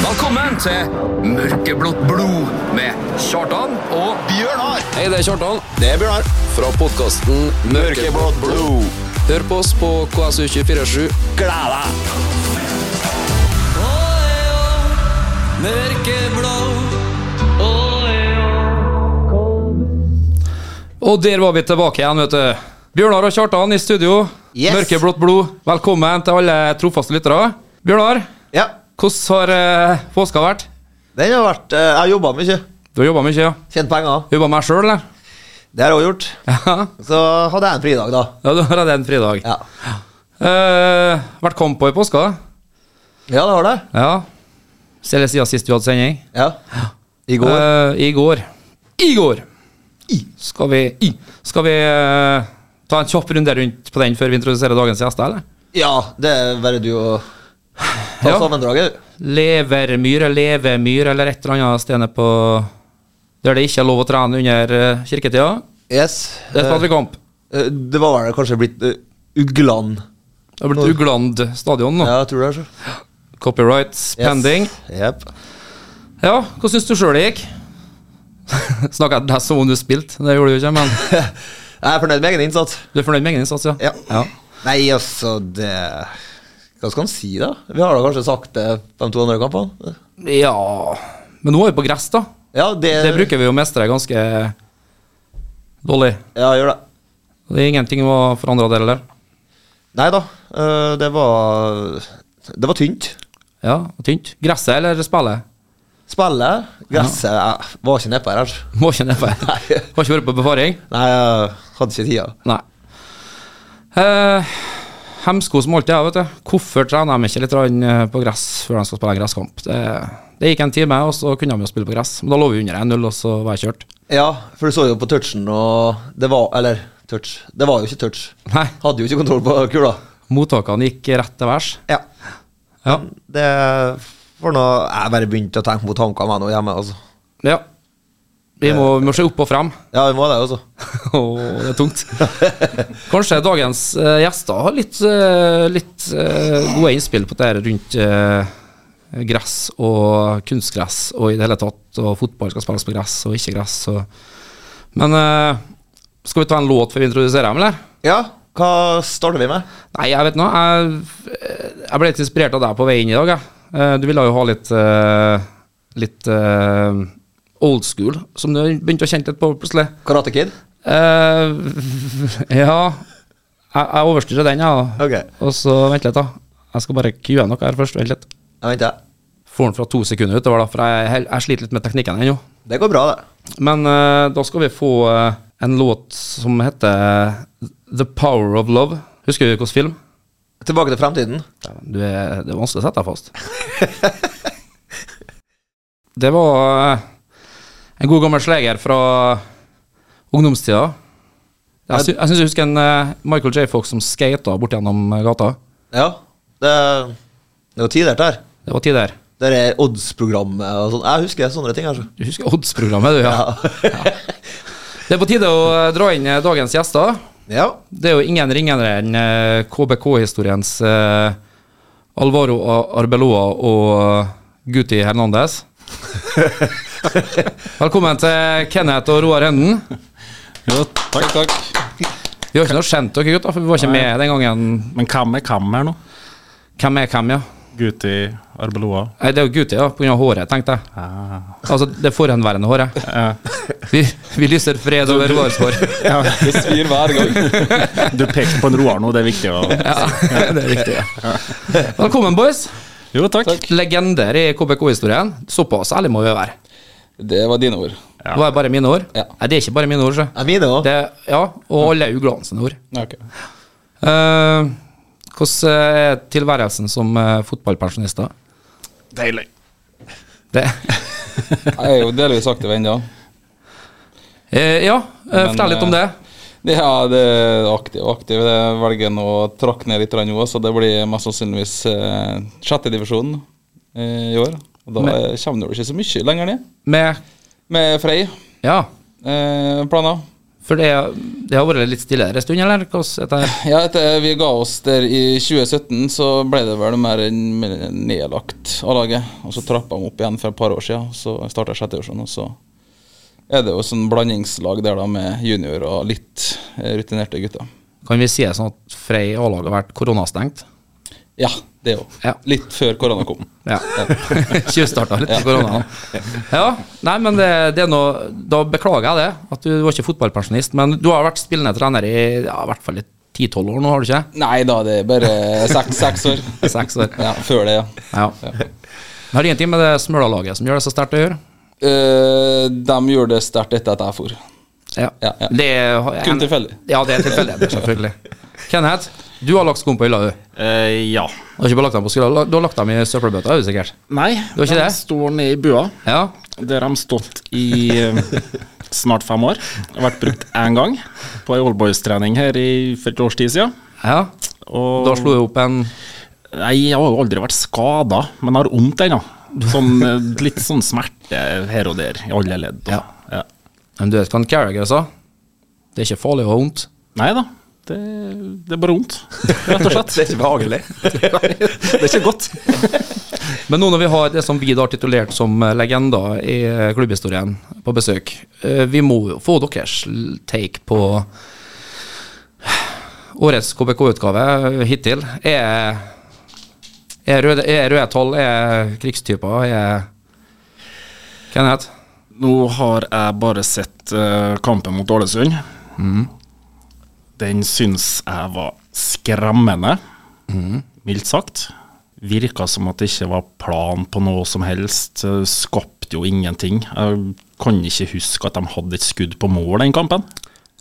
Velkommen til Mørkeblått blod med Kjartan og Bjørnar! Hei, det er Kjartan Det er Bjørnar. fra podkasten Mørkeblått blod. Hør på oss på KSU247. Gled deg! Og der var vi tilbake igjen, vet du. Bjørnar og Kjartan i studio. Yes. Mørkeblått blod. Velkommen til alle trofaste lyttere. Bjørnar, Ja, hvordan har eh, påska vært? den har vært eh, Jeg har jobba mye. Du har jobba mye, ja? Tjent penger. Jobba meg sjøl, eller? Det har jeg òg gjort. Ja, Så hadde jeg en fridag, da. ja da har jeg det en fridag. Ja, Eh, vært kamp på i påska? ja det har det. Ja. Selv siden sist vi hadde sending. Ja. I går. Eh, I går. I går. I. Skal vi, i. Skal vi eh, ta en kjapp runde rundt på den før vi introduserer dagens gjester, eller? ja, det er bare du og Ta Ja. sammendraget, du. Levermyr eller levemyr eller et eller annet sted nede på der det ikke er lov å trene under eh, kirketida. Yes. Der spilte vi kamp. Eh, eh, det var vel kanskje blitt eh, Ugland. Det har blitt Ugland stadion nå. Ja, jeg tror det er så. Copyrights Yes. pending. Jep. Ja, hva syns du sjøl det gikk? Snakka jeg til deg som om du spilte, det gjorde du jo ikke, men Jeg er fornøyd med egen innsats. du er fornøyd med egen innsats, ja? Ja. Nei, altså, det Hva skal man si, da? Vi har da kanskje sagt det de to andre kampene? ja. Men nå er vi på gress, da. Ja, det, Det bruker vi jo mestre ganske dårlig. Ja, gjør det. Det er ingenting å forandre der heller. Nei da, øh, det var Det var tynt. Ja, og tynt. Gresset eller spillet? Spillet, gresset Jeg var ikke nedpå her. altså. Må ikke ned på Har Nei. ikke vært på befaring. Nei, jeg hadde ikke tida. Nei. Eh, Hemsko som alltid er, vet du. Hvorfor trener de ikke litt grann, eh, på gress før de skal spille gresskamp? Det, det gikk en time, og så kunne de jo spille på gress. Men da lå vi under 1-0, og så var jeg kjørt. Ja, for du så jo på touchen, og det var Eller touch. Det var jo ikke touch. Nei, Hadde jo ikke kontroll på kula. mottakene gikk rett til værs. Ja. Ja. Det var nå Jeg bare begynte å tenke på tanker meg nå hjemme, altså. ja. Vi må, vi må se opp og frem. Ja, vi må det, altså. Åh, det er tungt. Kanskje dagens eh, gjester har litt, eh, litt eh, gode innspill på det her rundt eh, gress og kunstgress og i det hele tatt, og fotball skal spilles på gress og ikke gress. Og. Men eh, skal vi ta en låt før vi introduserer dem, eller? Ja, hva starter vi med? Nei, jeg vet nå. Jeg, jeg ble litt inspirert av deg på vei inn i dag. Jeg. Eh, Du ville jo ha litt, eh, litt eh, old school, som du begynte å kjenne litt på plutselig. Karate Kid? Eh, ja Jeg, jeg overstyrer den, jeg. da. Ok, jeg Og så vent litt, da. Jeg skal bare kue noe her først. Vent litt. venter. Får den fra to sekunder utover, da, for jeg, hel- jeg sliter litt med teknikken ennå. Det går bra, det. Men eh, da skal vi få eh, en låt som heter The Power of Love. Husker du hvilken film? Tilbake til fremtiden. Du er, det er vanskelig å sette deg fast. det var eh, en god gammel sleger fra ungdomstida. Jeg, sy jeg syns jeg husker en eh, Michael J. Fox som skata bort gjennom eh, gata. Ja, det, det er jo tider der. Det var tider. Det er odds-programmet og sånn. Jeg husker sånne ting. Altså. Du husker oddsprogrammet, du, ja. Ja. Det er på tide å eh, dra inn eh, dagens gjester. ja. Det er jo ingen ringere enn eh, KBK-historiens eh, Alvaro A- Arbeloa og eh, Guti Hernandez. Velkommen til Kenneth og Roar Henden. Jo, takk, takk. Vi har ikke noe kjent dere, gutter, for vi var ikke med den gangen. Men hvem er hvem her nå? Hvem er hvem, ja? Guti Arbeloa. Nei, det er jo Guti, ja, pga. håret, tenkte jeg. Ah. Altså det forhenværende håret. Eh, Vi, vi lyser fred over Roars hår. ja. Det svir hver gang. Du pekte på en Roar nå, det er viktig. å... Ja, det er riktig. Ja. Velkommen, boys. Jo, takk. Legender i KBK-historien. Såpass ærlig må vi være. Det var dine ord. Det var bare mine ord. Ja. Nei, det er ikke bare mine ord, sjø. Det er mine òg. Det, ja, og alle er uglene sine ord. Okay. Eh, hvordan eh, er tilværelsen som eh, fotballpensjonister? Deilig. Det, Jeg er jo delvis aktiv ennå. Eh, ja, eh, Men, fortell litt om det. eh, Det er det er aktiv og aktiv. Jeg velger nå å trakke ned litt grann nå, så det blir mest sannsynligvis eh, sjettedivisjon eh, i år. Og da Men- eh, kommer det vel ikke så mye lenger ned. Med Med Frei ja, eh, planer. For det, det har vært litt stille her en stund, eller? Hvordan er det her? Ja, etter vi ga oss der i 2017, så ble det vel mer enn- mer nedlagt av laget. Og så trappa de opp igjen for et par år siden, så starta sjetteårsjonen. Og så er det jo sånn blandingslag der da med junior og litt eh, rutinerte gutter. Kan vi si det sånn at Frei A-lag har vært koronastengt? Ja, det òg. Ja. Litt før korona kom. Ja. Tjuvstarta litt i koronaen. Ja, nei, men det, det er noe, da beklager jeg det. At du var ikke fotballpensjonist. Men du har vært spillende trener i ja, i hvert fall i 10-12 år nå, har du ikke? Nei da, det er bare seks, seks år. Seks år. Ja, før det, ja. Ja. Det har ingenting med det Smøla-laget som gjør det så sterkt å gjøre. Eh, de gjorde det sterkt etter at jeg for. Ja. Ja, ja. Det er, Kun tilfeldig. Ja, det er tilfeldigheter, selvfølgelig. Kenneth, du har lagt skoen på hylla, du. Eh, ja. Du har ikke bare lagt dem på skula, du har lagt dem i søppelbøtta, er du sikkert. Nei, var ikke de det? står nede i bua. Ja. Der har de stått i eh, snart fem år. Har vært brukt én gang på ei oldboys-trening her i for et års tid siden. ja. Og Da slo jeg opp en Nei, jeg har jo aldri vært skada, men har vondt ennå. Sånn, eh, litt sånn smerte her og der, i alle ledd. og- Ja. Ja. Men du vet hva en Carragher sa? altså. Det er ikke farlig å ha vondt. Nei da, det, det er bare vondt, rett og slett. Det er ikke behagelig. Det er ikke godt. Men nå når vi har det som vi da har titulert som eh, legender i eh, klubbhistorien på besøk, eh, vi må jo få deres l- take på årets KBK-utgave hittil. Er, er, røde, er røde tall, er krigstyper, er Kenneth? Nå har jeg bare sett eh, kampen mot Ålesund. Den syns jeg var skremmende, mildt sagt. Virka som at det ikke var plan på noe som helst. eh, Skapte jo ingenting. Jeg kan ikke huske at de hadde et skudd på mål den kampen.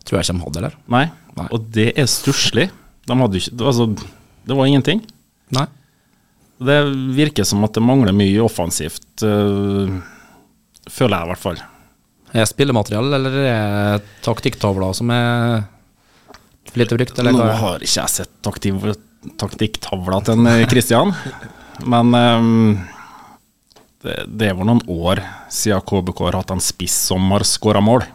Tror jeg ikke de hadde, eller? Nei, Nei. og det er stusslig. De hadde jo ikke det- Altså, det var ingenting. Nei. Det virker som at det mangler mye offensivt, øh, føler jeg i hvert fall. Er det spillemateriell, eller er det taktikktavla som er for lite brukt, eller Nå hva? har ikke jeg sett taktiv- taktikktavla til en eh, Christian, men øhm, det, det er vel noen år siden KBK har hatt en spiss som har skåra mål.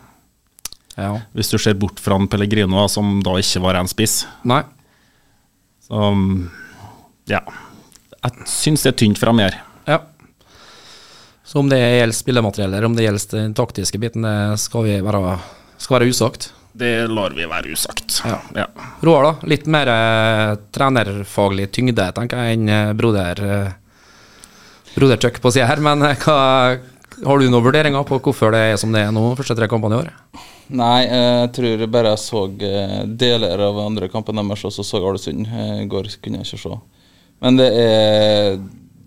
Ja. Hvis du ser bort fra en Pellegrino, da, som da ikke var en spiss. Nei. Så øhm, ja. Jeg syns det er tynt fra mer. Ja. Så om det gjelder spillemateriell eller om det gjelder den taktiske biten, det skal, vi være, skal være usagt. Det lar vi være usagt. Ja. Ja. Roar, da. Litt mer eh, trenerfaglig tyngde, tenker jeg, enn eh, broder eh, Broder Chuck på sida her. Men eh, hva, har du noen vurderinger på hvorfor det er som det er nå, første tre kampene i år? Nei, eh, jeg tror bare jeg så eh, deler av andre kampen deres, og så så jeg Ålesund. Eh, I går kunne jeg ikke se. Men det er,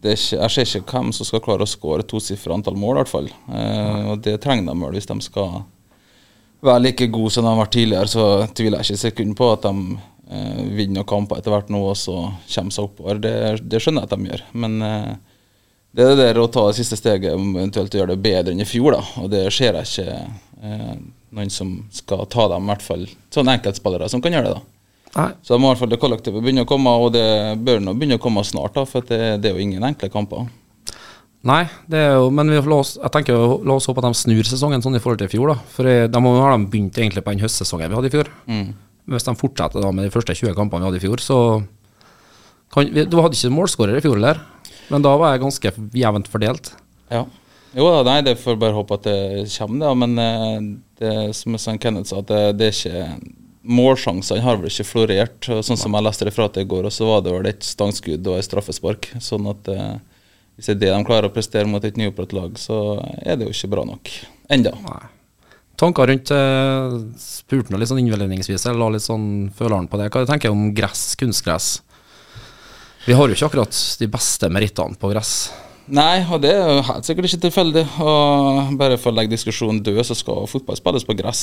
det er ikke, jeg ser ikke hvem som skal klare å skåre tosifra antall mål, i hvert fall. Eh, og det trenger de vel hvis de skal være like gode som de har vært tidligere. Så tviler jeg ikke et sekund på at de eh, vinner noen kamper etter hvert nå og så kommer seg oppover. Det, det skjønner jeg at de gjør. Men eh, det er det der å ta det siste steget, om eventuelt å gjøre det bedre enn i fjor, da. Og det ser jeg ikke eh, noen som skal ta dem, i hvert fall sånne enkeltspillere som kan gjøre det, da. Nei. Så de må i hvert fall det kollektivet begynne å komme, og det bør nå begynne å komme snart, da, for at det, det er jo ingen enkle kamper. Nei, det er jo, men vi får la oss, jeg tenker jo, la oss håpe at de snur sesongen sånn i forhold til i fjor. da, For eh, de har har de begynt egentlig på den høstsesongen vi hadde i fjor. Hvis de fortsetter da med de første 20 kampene vi hadde i fjor, så kan, vi, Du hadde ikke målskårer i fjor heller, men da var jeg ganske jevnt fordelt. Ja. Jo da, nei, det får bare håpe at det kommer, da. Men eh, det som sånn Kenneth sa, at det, det er ikke Målsjansene har vel ikke florert. og Sånn som jeg leste referatet i går, og så var det vel et stangskudd og et straffespark. Sånn at eh, hvis det er det de klarer å prestere mot et nyopprettet lag, så er det jo ikke bra nok. Enda. Nei. Tanker rundt eh, Spurte nå litt sånn innledningsvis, jeg la litt sånn føleren på det. Hva tenker du om gress, kunstgress? Vi har jo ikke akkurat de beste merittene på gress. Nei, og det er jo helt sikkert ikke tilfeldig. Og bare for å legge diskusjonen død, så skal fotball spilles på gress.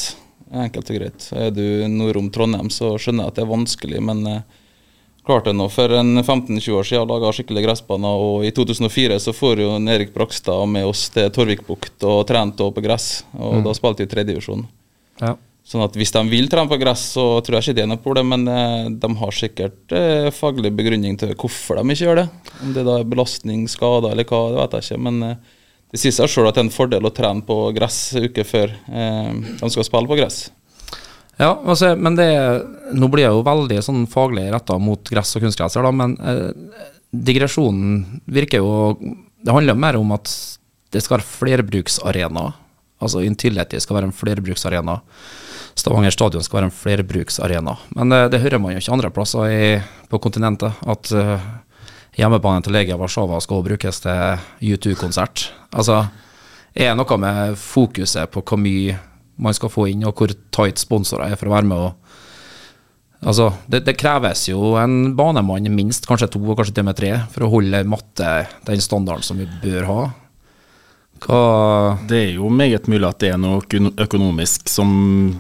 Enkelt og greit. Er du nord om Trondheim, så skjønner jeg at det er vanskelig, men eh, klart det nå. For en 15-20 år siden laga skikkelig gressbaner, og i 2004 så for jo en Erik Brakstad med oss til Torvikbukt og trente også på gress. Og da spilte vi i tredjedivisjon. Ja. Sånn at hvis de vil trene på gress, så tror jeg ikke det er noe problem, men eh, de har sikkert eh, faglig begrunning til hvorfor de ikke gjør det. Om det da er belastning, skader eller hva, det vet jeg ikke. Men eh, det sier seg sjøl at det er en fordel å trene på gress uke før eh, de skal spille på gress. Ja, altså, men det er- Nå blir jeg jo veldig sånn faglig retta mot gress og kunstgresser, da, men eh, digresjonen virker jo Det handler mer om at det skal være flerbruksarenaer. Altså Intility skal være en flerbruksarena. Stavanger stadion skal være en flerbruksarena. Men eh, det hører man jo ikke andre plasser i, på kontinentet. At eh, hjemmebanen til Legia Warszawa skal også brukes til U2-konsert. Altså, er noe med fokuset på hvor mye man skal få inn, og hvor tight sponsorer er for å være med. Og, altså, det, det kreves jo en banemann, minst kanskje to, og kanskje til og med tre, for å holde matte den standarden som vi bør ha. Hva Det er jo meget mulig at det er noe kun- økonomisk som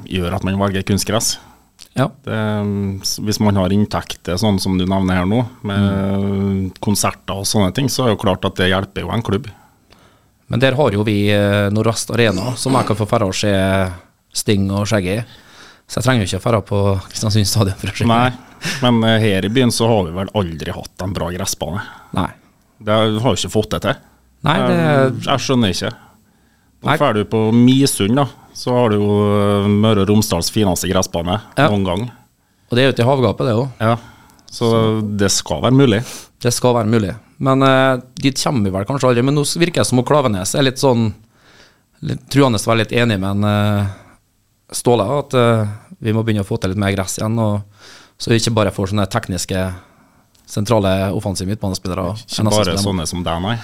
gjør at man velger kunstgress. Ja. Det, s- hvis man har inntekter, sånn som du nevner her nå, Mm. med konserter og sånne ting, så er det jo klart at det hjelper jo en klubb. Men der har jo vi eh, Nordvest Arena, som jeg kan få dra og se Sting og Skjegget i. Så jeg trenger jo ikke å dra på Kristiansund stadion for å se. Nei, men eh, her i byen så har vi vel aldri hatt en bra gressbane. Nei. Det har vi ikke fått det til. Eh, Nei, Jeg, det, jeg skjønner ikke. Nå Nei. drar du på Misund, da. Så har du jo eh, Møre og Romsdals fineste gressbane Ja. noen gang. og det er jo ute i havgapet, det òg. Ja. Så det skal være mulig. Det skal være mulig. Men eh, dit kommer vi vel kanskje aldri. Men nå virker det som om Klavenes er litt sånn litt, Truende til å være litt enig med en eh, Ståle at eh, vi må begynne å få til litt mer gress igjen. Og, så vi ikke bare får sånne tekniske, sentrale offensive midtbanespillere. Ikke bare sånn. sånne som deg, nei.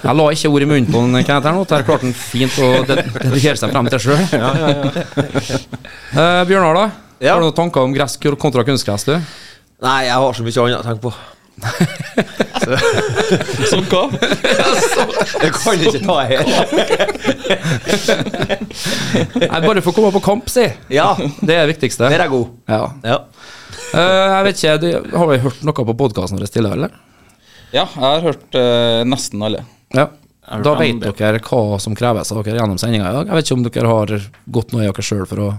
Jeg la ikke ord i munnen på den Kenneth her nå. Der klarte han fint å de- dedikere seg frem til sjøl. Eh, Bjørnar, da? Ja. Har du noen tanker om gress kontra kunstgress? du? Nei, jeg har så mye annet å tenke på. Som hva? Jeg kan ikke ta her. Nei, bare få komme på kamp, si. Ja, Det er det viktigste. der er jeg god. Ja. Ja. Eh, jeg vet ikke, du, Har vi hørt noe på podkasten deres tidligere, eller? Ja, jeg har hørt eh, nesten alle. Ja. hørt Da om vet det. dere hva som kreves av dere gjennom sendinga i dag. Jeg vet ikke om dere har gått noe i dere sjøl for å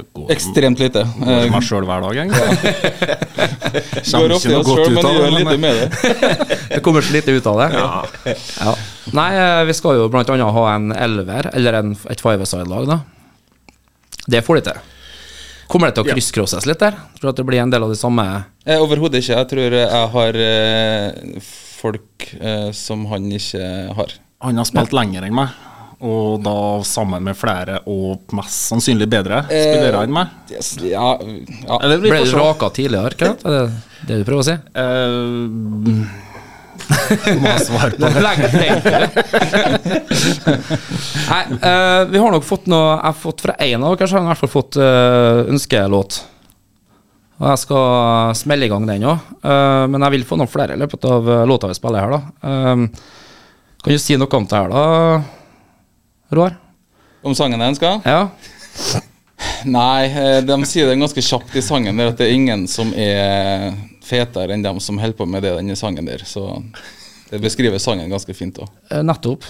Jeg går Ekstremt lite. går Eh, meg sjøl hver dag, egentlig. Går ofte i oss sjøl, men gjør lite med det. Det kommer så lite ut av det. Ja. Nei, eh, vi skal jo bl.a. ha en elver, eller en, et five-side-lag, da. Det får de til. Kommer det til å Ja. krysskrosses litt der? Tror du at det blir en del av de samme Eh, Overhodet ikke. Jeg tror jeg har eh, folk eh, som han ikke har. Han har spilt lenger enn meg, og da sammen med flere og mest sannsynlig bedre spillere enn meg. Yes, ja, ja. Eller vi Ble får du se. raka tidligere? Ikke? sant? Er det det du prøver å si? Eh, Må jeg svare på det? Legg deg til det. Nei, eh, vi har nok fått noe Jeg har fått fra en av dere, så har jeg i hvert fall fått eh, ønskelåt. Og jeg skal smelle i gang den òg, men jeg vil få noen flere i løpet av eh, låta vi spiller her, da. Eh, kan du si noe om det her, da, Roar? Om sangen jeg ønsker? Ja? Nei, eh, de sier det ganske kjapt i sangen der at det er ingen som er fetere enn dem som holder på med det denne sangen der. Så det beskriver sangen ganske fint òg. Eh, Nettopp.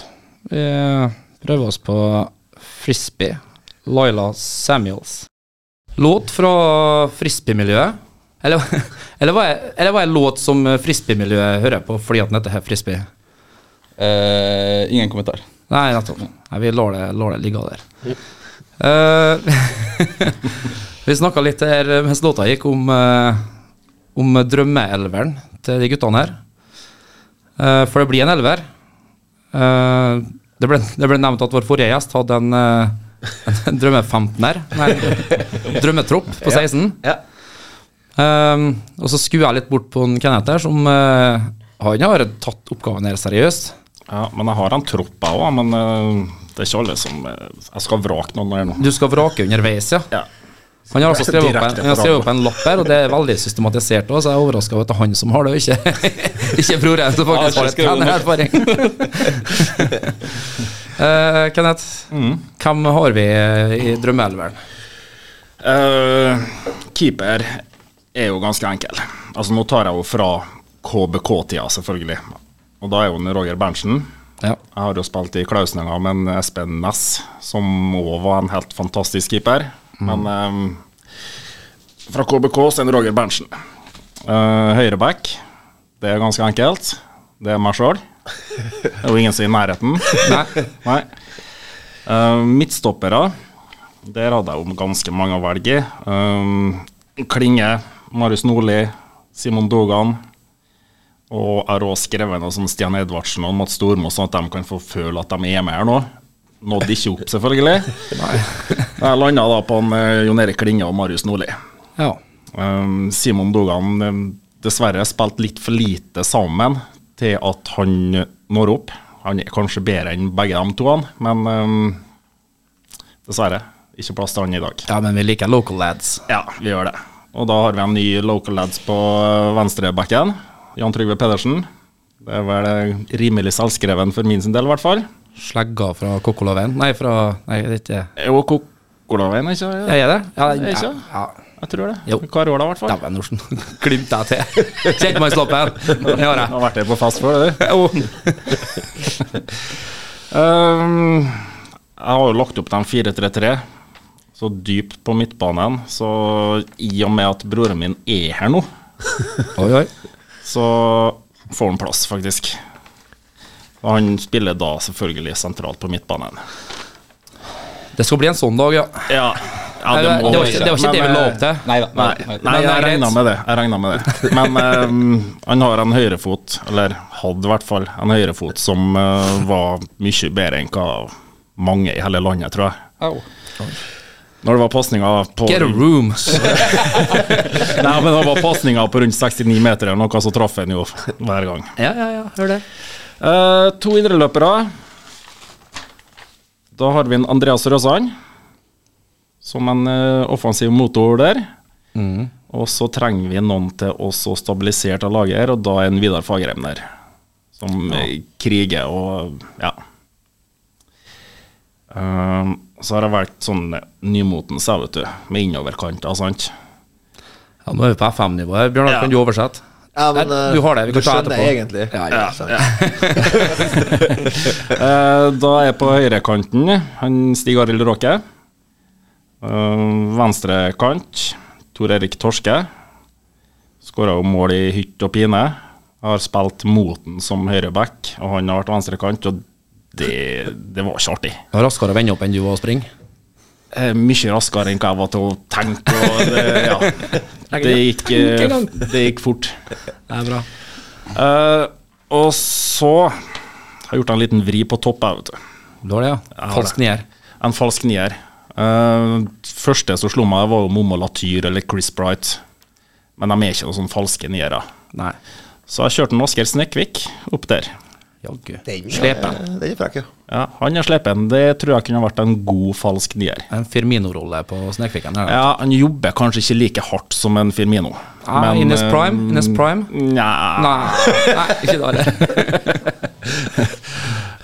Vi prøver oss på frisbee. Laila Samuels. Låt fra frisbee-miljøet. Eller, eller, var jeg, eller var jeg låt som frisbee-miljøet hører på fordi at den heter frisbee? Eh, ingen kommentar. Nei, nettopp. Nei, vi lar det, lar det ligge der. Eh, vi snakka litt her mens låta gikk, om, eh, om drømmeelveren til de guttene her. Eh, for det blir en elver. Eh, det, ble, det ble nevnt at vår forrige gjest hadde en, eh, en drømme-15-er. Nei, drømmetropp på 16. Ja. Ehm, og så skuer jeg litt bort på en Kenneth her, som eh, han har tatt oppgaven her seriøst. Ja, men jeg har en tropp, jeg òg. Men eh, det er ikke alle som eh, Jeg skal vrake noen her nå. Du skal vrake underveis, ja. Ja. Han har altså skrevet opp, en, Direkte han har skrevet opp fra en lapp her, og det er veldig systematisert. Også, så jeg er overraska over at det er han som har det, og ikke, ikke broren som Jeg faktisk har har et ikke tegn erfaring. Eh, Kenneth, Mm. hvem har vi eh, i drømmeelveren? Eh, keeper er jo ganske enkel. Altså Nå tar jeg jo fra KBK-tida, selvfølgelig. Og da er jo den Roger Berntsen. Ja. Jeg har jo spilt i Klausnøya med en Espen Næss, som òg var en helt fantastisk keeper. Men eh, fra KBK så er det Roger Berntsen. Uh, Høyreback, det er ganske enkelt. Det er meg sjøl. Det er jo ingen som er i nærheten. Nei, Nei. Eh, midtstoppere Der hadde jeg jo ganske mange å velge i. Um, Klinge, Marius Nordli, Simon Dogan. Og jeg har også skrevet noe som Stian Edvardsen og Mats Stormo, sånn at de kan få føle at de er med her nå. Nådde ikke opp, selvfølgelig. Jeg landa da på en, eh, Jon Erik Klinge og Marius Nordli. Ja. Um, Simon Dogan um, dessverre spilt litt for lite sammen til at han når opp. Han er kanskje bedre enn begge de to, han, men um, dessverre. Ikke plass til han i dag. ja, men vi liker local lads. Ja, vi gjør det. Og da har vi en ny local lads på uh, venstrebacken. Jan Trygve Pedersen. Det er vel eh, rimelig selvskreven for min sin del, i hvert fall. Slegga fra Kokkolaveien. Nei, fra Nei, det er ikke Jo, Kokolaveien, ikke Ja, er det? Ja, den- Er det ikke? ja. Jeg tror det. Jo. Karola, i hvert fall. Dæven, Norsen. Glimta jeg til. Kjentmannsloppen. Det har Jeg jeg. har vært der på fest før, du. Jo. Ehm, jeg har jo lagt opp den 4-3-3, så dypt på midtbanen. Så i og med at broren min er her nå, Oi, oi. så får han plass, faktisk. Og han spiller da selvfølgelig sentralt på midtbanen. Det skal bli en sånn dag, ja. Ja, ja Nei, det, var være. ikke, det var ikke Men, det vi la opp eh, til. Nei da. Nei, Nei, nei Men det er jeg greit. regna med det. Jeg regnet med det. Men ehm, han har en høyrefot, eller hadde i hvert fall en høyrefot, som eh, var mye bedre enn hva mange i hele landet, tror jeg. Au. Når det var pasninger på Get a rundt, room. Nei, men det var pasninger på rundt 69 meter eller noe, så traff en jo hver gang. Ja, ja, ja. Hør det. Eh, to indreløpere. Da har vi en Andreas Røsand som en eh, offensiv motor der. Og så trenger vi noen til å så stabilisere til laget her, og da er en Vidar Fagerheim der. Som eh, kriger og ja. Eh, så har jeg valgt sånn nymotens, jeg, vet du, med innoverkanter, sant. Ja, nå er vi på FM-nivå her. Bjørnar, Ja. kan du oversette? Ja, men, Nei, eh, du har det, vi du kan ta skjønner etterpå. egentlig. Ja, ja. altså, Eh, Da er jeg på høyrekanten. Han Stig Arild Råke. Eh, Venstrekant. Tor Erik Torske. Skåra jo mål i hytt og pine. Har spilt Moten som høyreback, og han har vært venstrekant, og det, det var ikke artig. Det var raskere å vende opp enn du var å springe. Eh, mye raskere enn hva jeg var til å tenke. Og det, ja. det, gikk, eh, det gikk fort. Det er bra. Eh, og så har jeg gjort en liten vri på topp, jeg, vet du. Du har det, ja. har Falsk nier. En falsk nier. Eh, første som slo meg, var jo Momo Latyr eller Chris Bright. Men de er ikke noen sånne falske niere. Nei. Så jeg kjørte en Oskar Snekvik opp der. Jaggu. Den, Slepe. eh, Den er frekk, ja. Ja, han er slepen. Det tror jeg kunne vært en god falsk nier. En Firmino-rolle på Snekviken. her, da. Ja, Han jobber kanskje ikke like hardt som en Firmino. eh, Ah, in his prime? In his prime? Nja Nei. Nei, ikke da heller.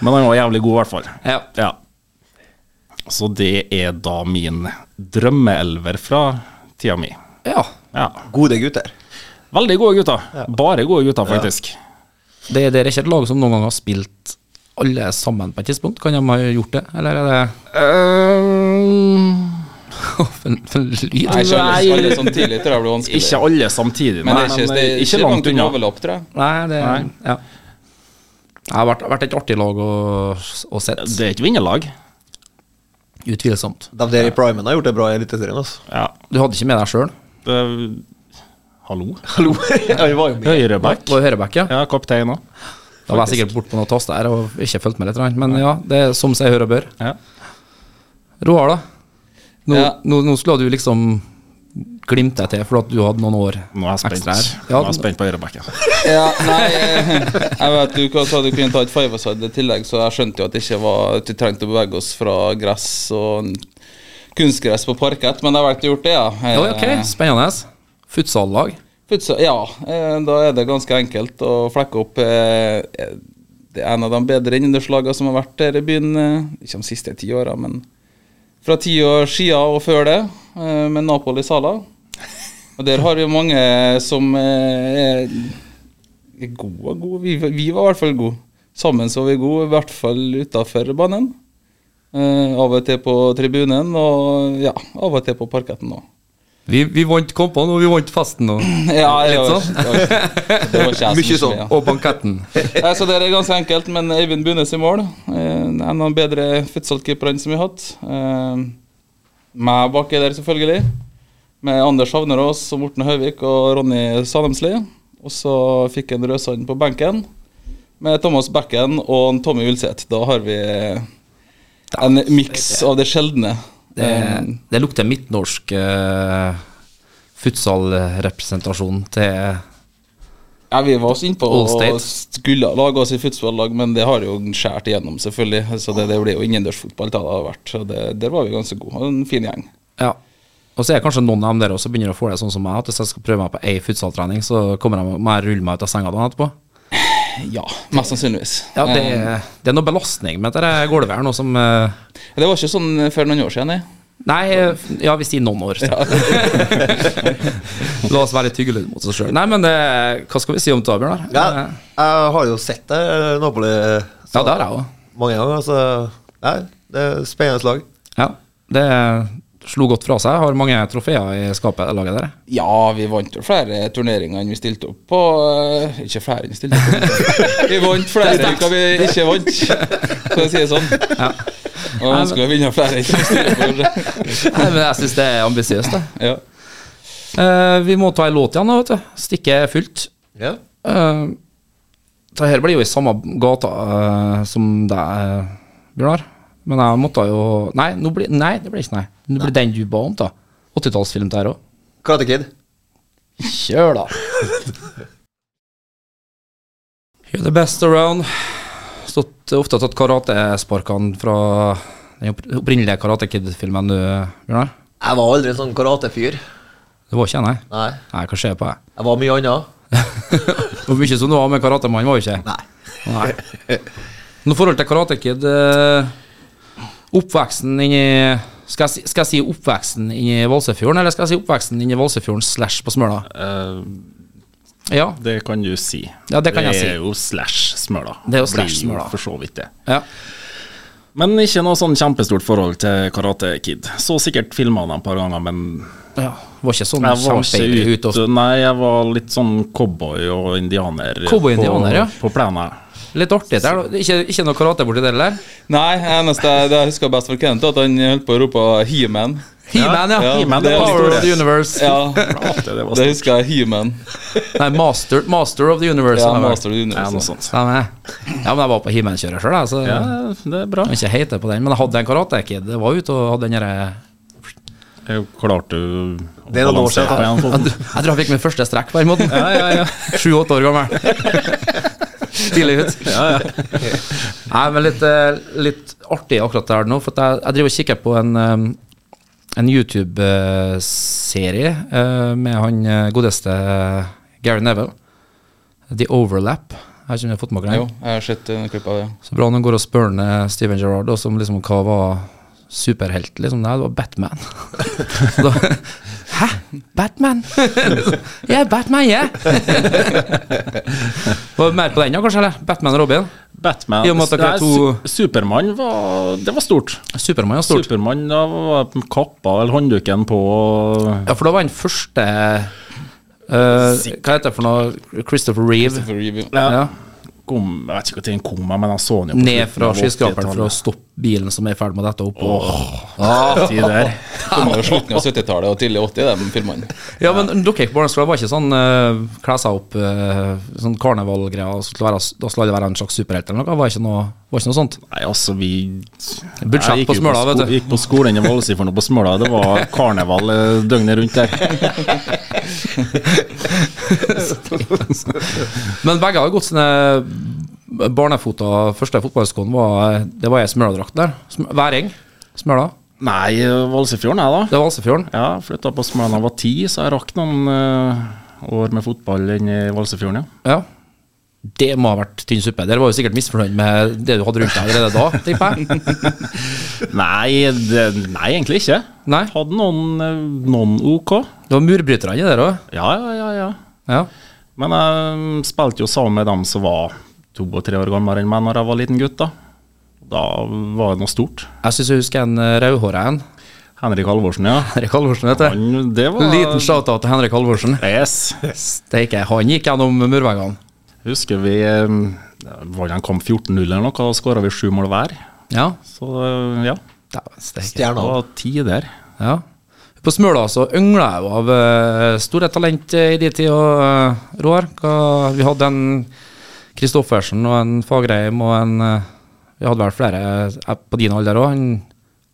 Men han var jævlig god, i hvert fall. Ja. Ja. Så det er da min drømmeelver fra tida mi. ja. Ja. Gode gutter. Veldig gode gutter. Bare gode gutter, faktisk. Det, det er ikke et lag som noen gang har spilt alle sammen på et tidspunkt. Kan de ha gjort det, eller er det Ehm, For en for en lyd. Nei, ikke alle, alle sånn tidlig tror jeg blir vanskelig. Ikke alle samtidig, men nei, eh, det er ikke, det er ikke langt unna. overlapp, tror jeg. Nei, det Nei. Ja. Det har vært, vært et artig lag å, å sett. Det er et vinnerlag. Utvilsomt. De der i primen har gjort det bra i Eliteserien. Altså. Ja. Du hadde ikke med deg sjøl? Det, hallo? Hallo! Han var jo med. Høyreback. Var jo høyreback, ja. Ja, kaptein òg. Da var jeg sikkert borte på noen taster her og ikke fulgt med litt. Men ja, det er som seg hør og bør. Ja. Roar, da. Nå, Ja. nå, nå skulle du liksom glimte deg til, for at du hadde noen år Nå er jeg spent, ekstra her. Nå Ja, er jeg spent på høyrebacken. Ja, nei, eh, jeg vet du hva sa du kunne ta et five-a-side i tillegg, så jeg skjønte jo at det ikke var at vi trengte å bevege oss fra gress og kunstgress på parkett, men jeg valgte å gjøre det, ja. Eh, ja, ok, spennende. Futsallag. Futsal, ja, eh, da er det ganske enkelt å flekke opp eh, Det er en av de bedre innendørslagene som har vært her i byen, eh, ikke de siste ti åra, men fra ti år siden og før det, eh, med Napoli Sala. Og der har vi jo mange som eh, er- er gode og gode. Vi, vi var i hvert fall gode. Sammen så var vi gode, i hvert fall utafor banen. Eh, av og til på tribunen, og ja, av og til på parketten òg. Vi, vi vant kampene, og vi vant festen og, Ja, Litt jeg, sånn. Mykje sånn. og banketten. Nei, så Det er ganske enkelt, men Øyvind Bunes i mål. Eh, En av de bedre futsalkeeperne som vi har hatt. Eh, Meg baki der, selvfølgelig. Med Anders Havnerås og Morten Høvik og Ronny Sanemsli. Og så fikk en Røsand på benken med Thomas Bekken og en Tommy Ulseth. Da har vi en miks av det sjeldne. Eh, Det, det lukter midtnorsk eh, futsalrepresentasjon til Ja, Vi var også innpå All og State. skulle lage oss i fotballag, men det har jo skåret igjennom, selvfølgelig. Så det, det blir jo innendørsfotball. Det hadde vært. Så det, der var vi ganske gode. En fin gjeng. Ja. Og så er kanskje noen av dem der også begynner å få det sånn som meg, at hvis jeg skal prøve meg på ei futsaltrening, så kommer de må jeg rulle meg ut av senga dagen etterpå. Ja, mest sannsynligvis. Ja, det, Eh, det er noe belastning med dette gulvet her nå som eh, det var ikke sånn for noen år siden, nei. Nei, eh, ja, vi sier noen år. Så. La oss være litt hyggelige mot oss sjøl. Nei, men eh, hva skal vi si om det, Bjørnar? Ja, Eh, jeg har jo sett det, eh, Napoli. Ja, det har jeg også. Mange ganger, så Nei, det er et spennende lag. ja. Det slo godt fra seg. Har mange trofeer i skapet, det laget der. Ja, vi vant jo flere turneringer enn vi stilte opp på. eh, Ikke flere enn vi stilte opp på. Vi vant flere enn hva vi ikke vant, for å si det sånn. Og ønsker å vinne flere enn vi stilte opp på. kanskje. Nei, men jeg syns det er ambisiøst, det. Ja. Eh, vi må ta en låt igjen, da, vet du. Stikket er fullt. Ja. Eh, Det her blir jo i samme gata eh, som deg, eh, Bjørnar. Men jeg måtte jo Nei, nå blir- nei det blir ikke nei. Det blir den du ba om, da. 80-tallsfilm der òg. Karate Kid. Kjør, da. You're the best around. Stått eh, ofte tatt karatesparkene fra den opp- opprinnelige Karate Kid-filmen, du, Bjørnar. Jeg var aldri en sånn karatefyr. Det var ikke jeg, nei. Nei. Nei, hva skjer på deg? Jeg var mye annet. Hvor mye som det var med karatemann, var jo ikke. Nei. Nei. Noe forhold til Karate Kid eh, Oppveksten inn i skal jeg, si, skal jeg si oppveksten inn i Valsefjorden, eller skal jeg si oppveksten inn i Valsefjorden slash på Smøla? Eh, Ja. det kan du si. Ja, det kan jeg si. er jo slash smøla. Det er jo Blir slash smøla. For så vidt det. ja. Men ikke noe sånn kjempestort forhold til Karate Kid. Så sikkert filma han et par ganger, men ja. Var ikke sånn jeg var ikke kjempeivrig ute ute. Nei, jeg var litt sånn cowboy og indianer, Cowboy-indianer, på, ja. på plenen. og Litt artig der, da. Ikke, ikke noe karate borti der, eller? Nei, eneste jeg- det jeg husker best fra Kenneth, er at han holdt på å rope 'He-Man'. He-Man, ja. Ja, He-Man, det er var Power of litt the dårlig. Universe. Ja, Plate, det var det stort. husker jeg. He-Man. Nei, Master, master of the Universe. Ja, er det vel. Master of Ja, the noe Universe. altså. sånt. Ja, men- ja, men jeg var på He-Man-kjøret sjøl, jeg, så sånn. Ja, jeg det er bra. kan ikke hete på den. Men jeg hadde en Karate Kid. Jeg var ute og hadde den eh, derre Jeg klarte å Det er noen år siden, balansere på en Jeg fot. tror jeg fikk min første strekk på den måten. Sju-åtte år gammel. Tidlig ut. Nei, men litt, eh, litt artig akkurat der nå, for at jeg, jeg driver og kikker på en, eh, en YouTube-serie eh, med han eh, godeste eh, Gary Neville. The Overlap. Jeg vet ikke om jeg har fått med meg Jo, den. jeg har sett en klipp av det. Så bra han går og spør han, eh, Steven Gerrard også om liksom, hva var superhelt, liksom. Nei, det var Batman. Så da, Hæ? Batman? Jeg er Batman, jeg! Var det mer på den, da, kanskje? eller? Batman og Robin? Batman I og med at dere er Nei, to- Su- Supermann var Det var stort. Supermann er stort. Supermann da var kappa eller håndduken på Ja, for da var den første eh, Hva heter det for noe? Christopher Reeve. For review. Ja. kom, Jeg vet ikke når den kom, men jeg så den jo på Ned slutten fra av skyskraperen for å 80-tallet. stoppe bilen som er i ferd med å dette opp. Og, Tid der. Kommer jo slutten av 70-tallet og tidlig 80, de filmene. Ja, men dere på barneskolen var ikke sånn uh, kle seg opp, eh, sånn karnevalgreier, og så skulle være- da skulle alle være en slags superhelt eller noe? Var ikke noe, var ikke noe sånt? Nei, altså, vi Budsjett Jeg gikk på jo Smøla, sko- vet du. Gikk på skolen i Valsøy for noe på Smøla. Det var karneval eh, døgnet rundt der. Men begge har gått sine eh, barnefoter. Første fotballskoen var eh, Det var ei Smøla-drakt der. Sm- Væring. Smøla. Nei, Valsøyfjorden, jeg, da. Det var Alsefjorden. Ja, flytta på Smøla da jeg var ti, så jeg rakk noen eh, år med fotball inn i Valsøyfjorden, ja. Ja. Det må ha vært tynn suppe. Dere var jo sikkert misfornøyd med det du hadde rundt deg allerede da, tipper jeg. Nei, det, nei egentlig ikke. Nei. Hadde noen, eh, noen OK. Det var murbrytere inni der òg. Ja, ja, ja. ja. Ja. Men jeg spilte jo sammen med dem som var to og tre år gamlere enn meg når jeg var liten gutt. Da Da var det noe stort. Jeg syns jeg husker en eh, rødhåra en. Henrik Halvorsen, ja. Henrik Halvorsen, vet du. Han, det var Liten shout-out til Henrik Halvorsen. Yes. Steike, han gikk gjennom murveggene. Husker vi eh, var det han kom 14-0 eller noe, da skåra vi sju mål hver. Ja. Så eh, ja, Dæven steike. Stjerna. det var ti der. Ja. På Smøla så yngla jeg jo av eh, store talent eh, i de tid, og eh, Roar. Hva, vi hadde en Kristoffersen og en Fagerheim og en eh, Vi hadde vel flere eh, på din alder òg. En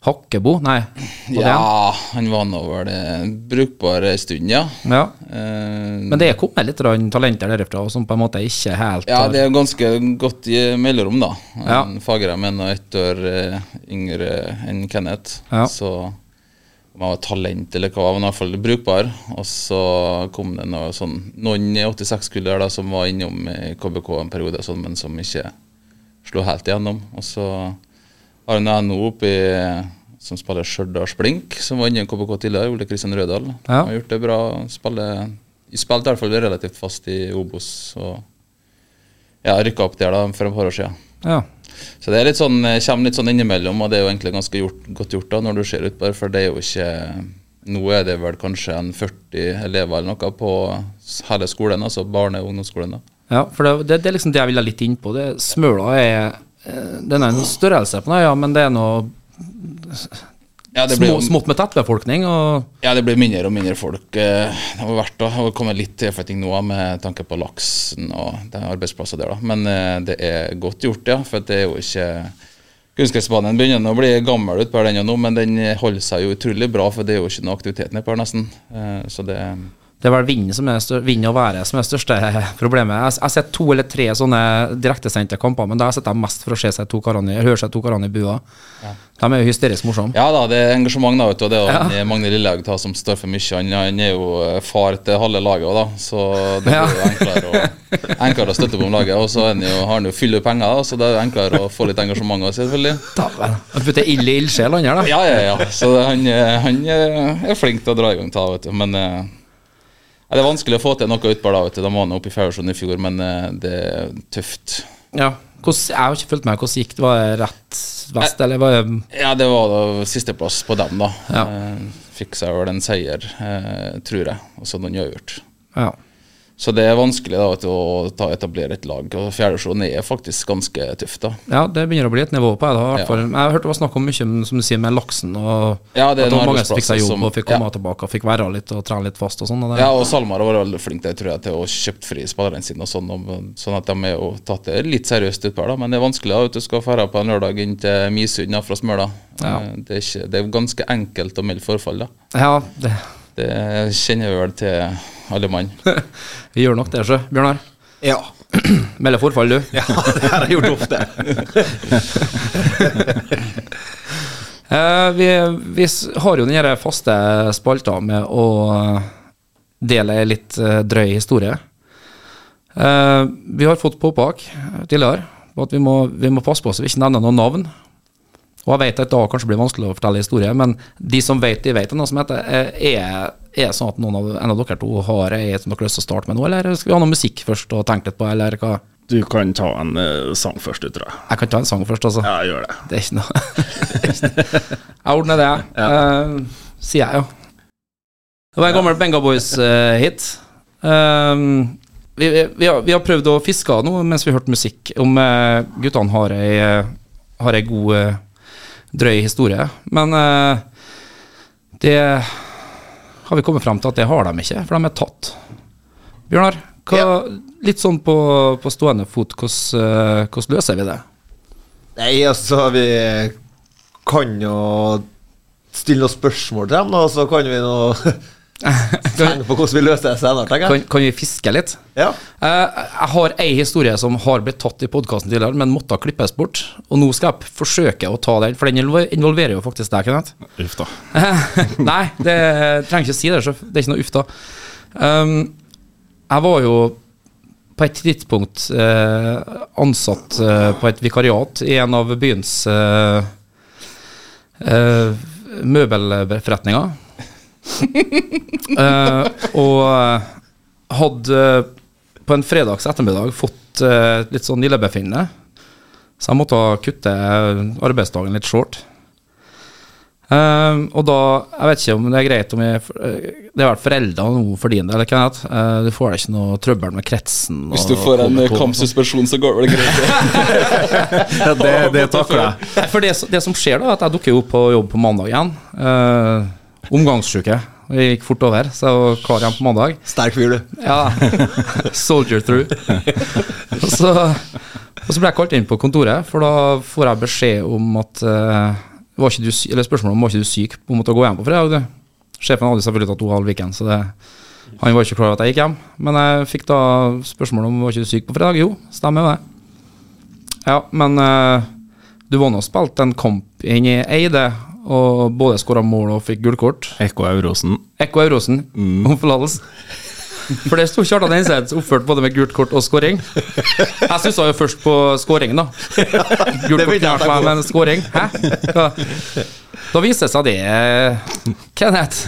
Hakkebo, nei. var det en? Ja, han var nå vel eh, brukbar ei stund, ja. ja. Eh, Men det er kommet litt grann talenter derifra som på en måte ikke helt ja, har- det er ganske godt i mellomrom, da. Ja. Ja. Fagerheim er nå ett år eh, yngre enn Kenneth. Ja. Så om han var talent eller hva, var han i hvert fall brukbar. Og så kom det noe sånn, noen 86-kull der da, som var innom i KBK en periode, og sånn, men som ikke slo helt igjennom. Og så har han en NO oppe i som spiller Stjørdals Blink, som var inne i KBK tidligere. Ole Kristian Rødahl. Ja. Han Har gjort det bra. Spiller, spilte i hvert fall relativt fast i Obos. og ja, rykka opp der da for et par år siden. eh, Ja. Så det er litt sånn, eh, kommer litt sånn innimellom, og det er jo egentlig ganske gjort, godt gjort da når du ser ut på det, for det er jo ikke Nå er det vel kanskje en 40 elever eller noe på hele skolen, altså barne- og ungdomsskolen. da. Ja, for det, det, det er liksom det jeg ville litt inn på. Det, Smøla er eh, Den er en størrelse på den, ja, men det er noe Ja, det blir små, jo- smått med tettbefolkning. Og, Ja, det blir mindre og mindre folk. eh, Det har vært da, og kommet litt tilflytting nå med tanke på laksen og det er arbeidsplasser der. da. Men eh, det er godt gjort, ja. For det er jo ikke Kunstgressbanen begynner nå å bli gammel utpå den og nå, men den holder seg jo utrolig bra, for det er jo ikke noe aktivitet nedpå her, nesten. Eh, Så det det er vel vinden, som er stør, vind og været som er det største problemet. Jeg jeg har sett to eller tre sånne direktesendte kamper, men da har jeg sett dem mest for å se seg to karene, i- høre seg to karene i bua. De er jo hysterisk morsomme. Ja da, det er engasjement, da, vet du. og Det er jo en Magne Lillehaug da, som står for mye. Han, han er jo eh, far til halve laget òg, da. Så det blir Ja. jo enklere å, enklere å støtte på om laget. Og så er han jo- har han jo fyll av penger, da, så det er jo enklere å få litt engasjement òg, selvfølgelig. Dæven. Han putter ild i ildsjel, han her, da. Ja, ja, ja. Så det, han, eh, han eh, er flink til å dra i gang ta, vet du. Men eh, ja, det er vanskelig å få til noe utpå da, vet du. Da var han oppe i Faursund i fjor, men eh, det er tøft. Ja. Hvordan, jeg har ikke fulgt med. Hvordan gikk det? Var det rett vest, eller var det Ja, det var da sisteplass på dem, da. Ja. Eh, Fikk seg vel en seier, eh, tror jeg, og så noen uavgjort. Ja. Så det er vanskelig da, vet du, å ta, etablere et lag. Og fjerdedivisjonen er faktisk ganske tøft, da. Ja, det begynner å bli et nivå på det. da, i hvert Ja. fall. Jeg hørte det var snakk om mye om, som du sier, med laksen. og Ja, det er At det var noen mange som fikk seg arbeidsplasser jobb som- og fikk komme ja. tilbake og fikk være litt og trene litt fast og sånn. og det- Ja, og Salmar var veldig flink der, tror jeg, til å kjøpe fri spillerne sine. og sånn, og- Sånn at de er jo tatt det litt seriøst utpå her, da. Men det er vanskelig da, at du skal dra på en lørdag inn til Misund da, fra Smøla. Ja. Eh, Det, er ikke, det er ganske enkelt å melde forfall, da. Ja, det, Det kjenner vi vel til alle mann. vi gjør nok det, sjø. Bjørnar, Ja. melder forfall, du. ja, det har jeg gjort ofte. Eh, vi, vi s- har jo den her faste spalta med å dele ei litt eh, drøy historie. Eh, vi har fått påpak tidligere på at vi må, vi må passe på så vi ikke nevner noen navn. Og jeg vet at da kanskje blir det vanskelig å fortelle historier, men de som vet, de vet. Det er noe som heter eh, Er er det sånn at noen av, en av dere to har ei som dere har lyst til å starte med nå, eller skal vi ha noe musikk først og tenke litt på, eller hva? Du kan ta en eh, sang først, du, tror jeg. Jeg kan ta en sang først, altså. Ja, jeg gjør det. Det er ikke noe Jeg ordner det, jeg. Eh, sier jeg, jo. Det var en gammel Benga Boys-hit. Eh, vi, vi, vi, har, vi har prøvd å fiske nå mens vi hørte musikk, om eh, guttene har ei, eh, har ei god, eh, drøy historie. Men eh, det har vi kommet fram til at det har de ikke, for de er tatt. Bjørnar, hva, litt sånn på, på stående fot, hvordan eh, hvordan løser vi det? Nei, altså, vi kan jo stille noen spørsmål til dem, da, og så kan vi nå tenke på hvordan vi løser det senere, tenker jeg. Kan, kan vi fiske litt? Ja. Eh, jeg har ei historie som har blitt tatt i podkasten tidligere, men måtte klippes bort. Og nå skal jeg forsøke å ta den, for den involver- involverer jo faktisk deg, Kenneth. Uff da. Nei, det jeg trenger ikke si det, så det er ikke noe uff, da. Um, jeg var jo på et tidspunkt eh, ansatt eh, på et vikariat i en av byens eh, eh, møbelforretninger. Eh, og hadde eh, på en fredags ettermiddag fått eh, litt sånn illebefinnende. Så jeg måtte kutte eh, arbeidsdagen litt short. Ehm, og da, jeg vet ikke om det er greit om jeg, eh, Det er vel foreldre nå for din del, Kenneth. Eh, du får da ikke noe trøbbel med kretsen? Hvis og du får en KBK. kampsuspensjon, så går vel greit. Det, det takler jeg. For det, som- det som skjer, da, er at jeg dukker jo opp på jobb på mandag igjen. eh, Omgangssyke. Jeg gikk fort over, så jeg var klar igjen på mandag. Sterk fyr, du. Ja. Soldier through. og, så, og så ble jeg kalt inn på kontoret, for da får jeg beskjed om at eh, var ikke du, sy- Eller spørsmålet om var ikke du syk på måtte gå hjem på fredag. Du. Sjefen hadde selvfølgelig tatt to halv weekend, så det, han var ikke klar over at jeg gikk hjem. Men jeg fikk da spørsmål om var ikke du syk på fredag. Jo, stemmer det. Ja, men eh, du var nå spilt en kamp inn i Eide, og både skåra mål og fikk gullkort. Ekko Eurosen. Ekko Eurosen Mm. om forlatelse. For det sto Kjartan Einseth oppført både med gult kort og scoring. Jeg stussa jo først på scoringen, da. Gult Det kort begynte jeg å klart tenke meg, men scoring? Hæ? Hva? Da viste det seg det, Kenneth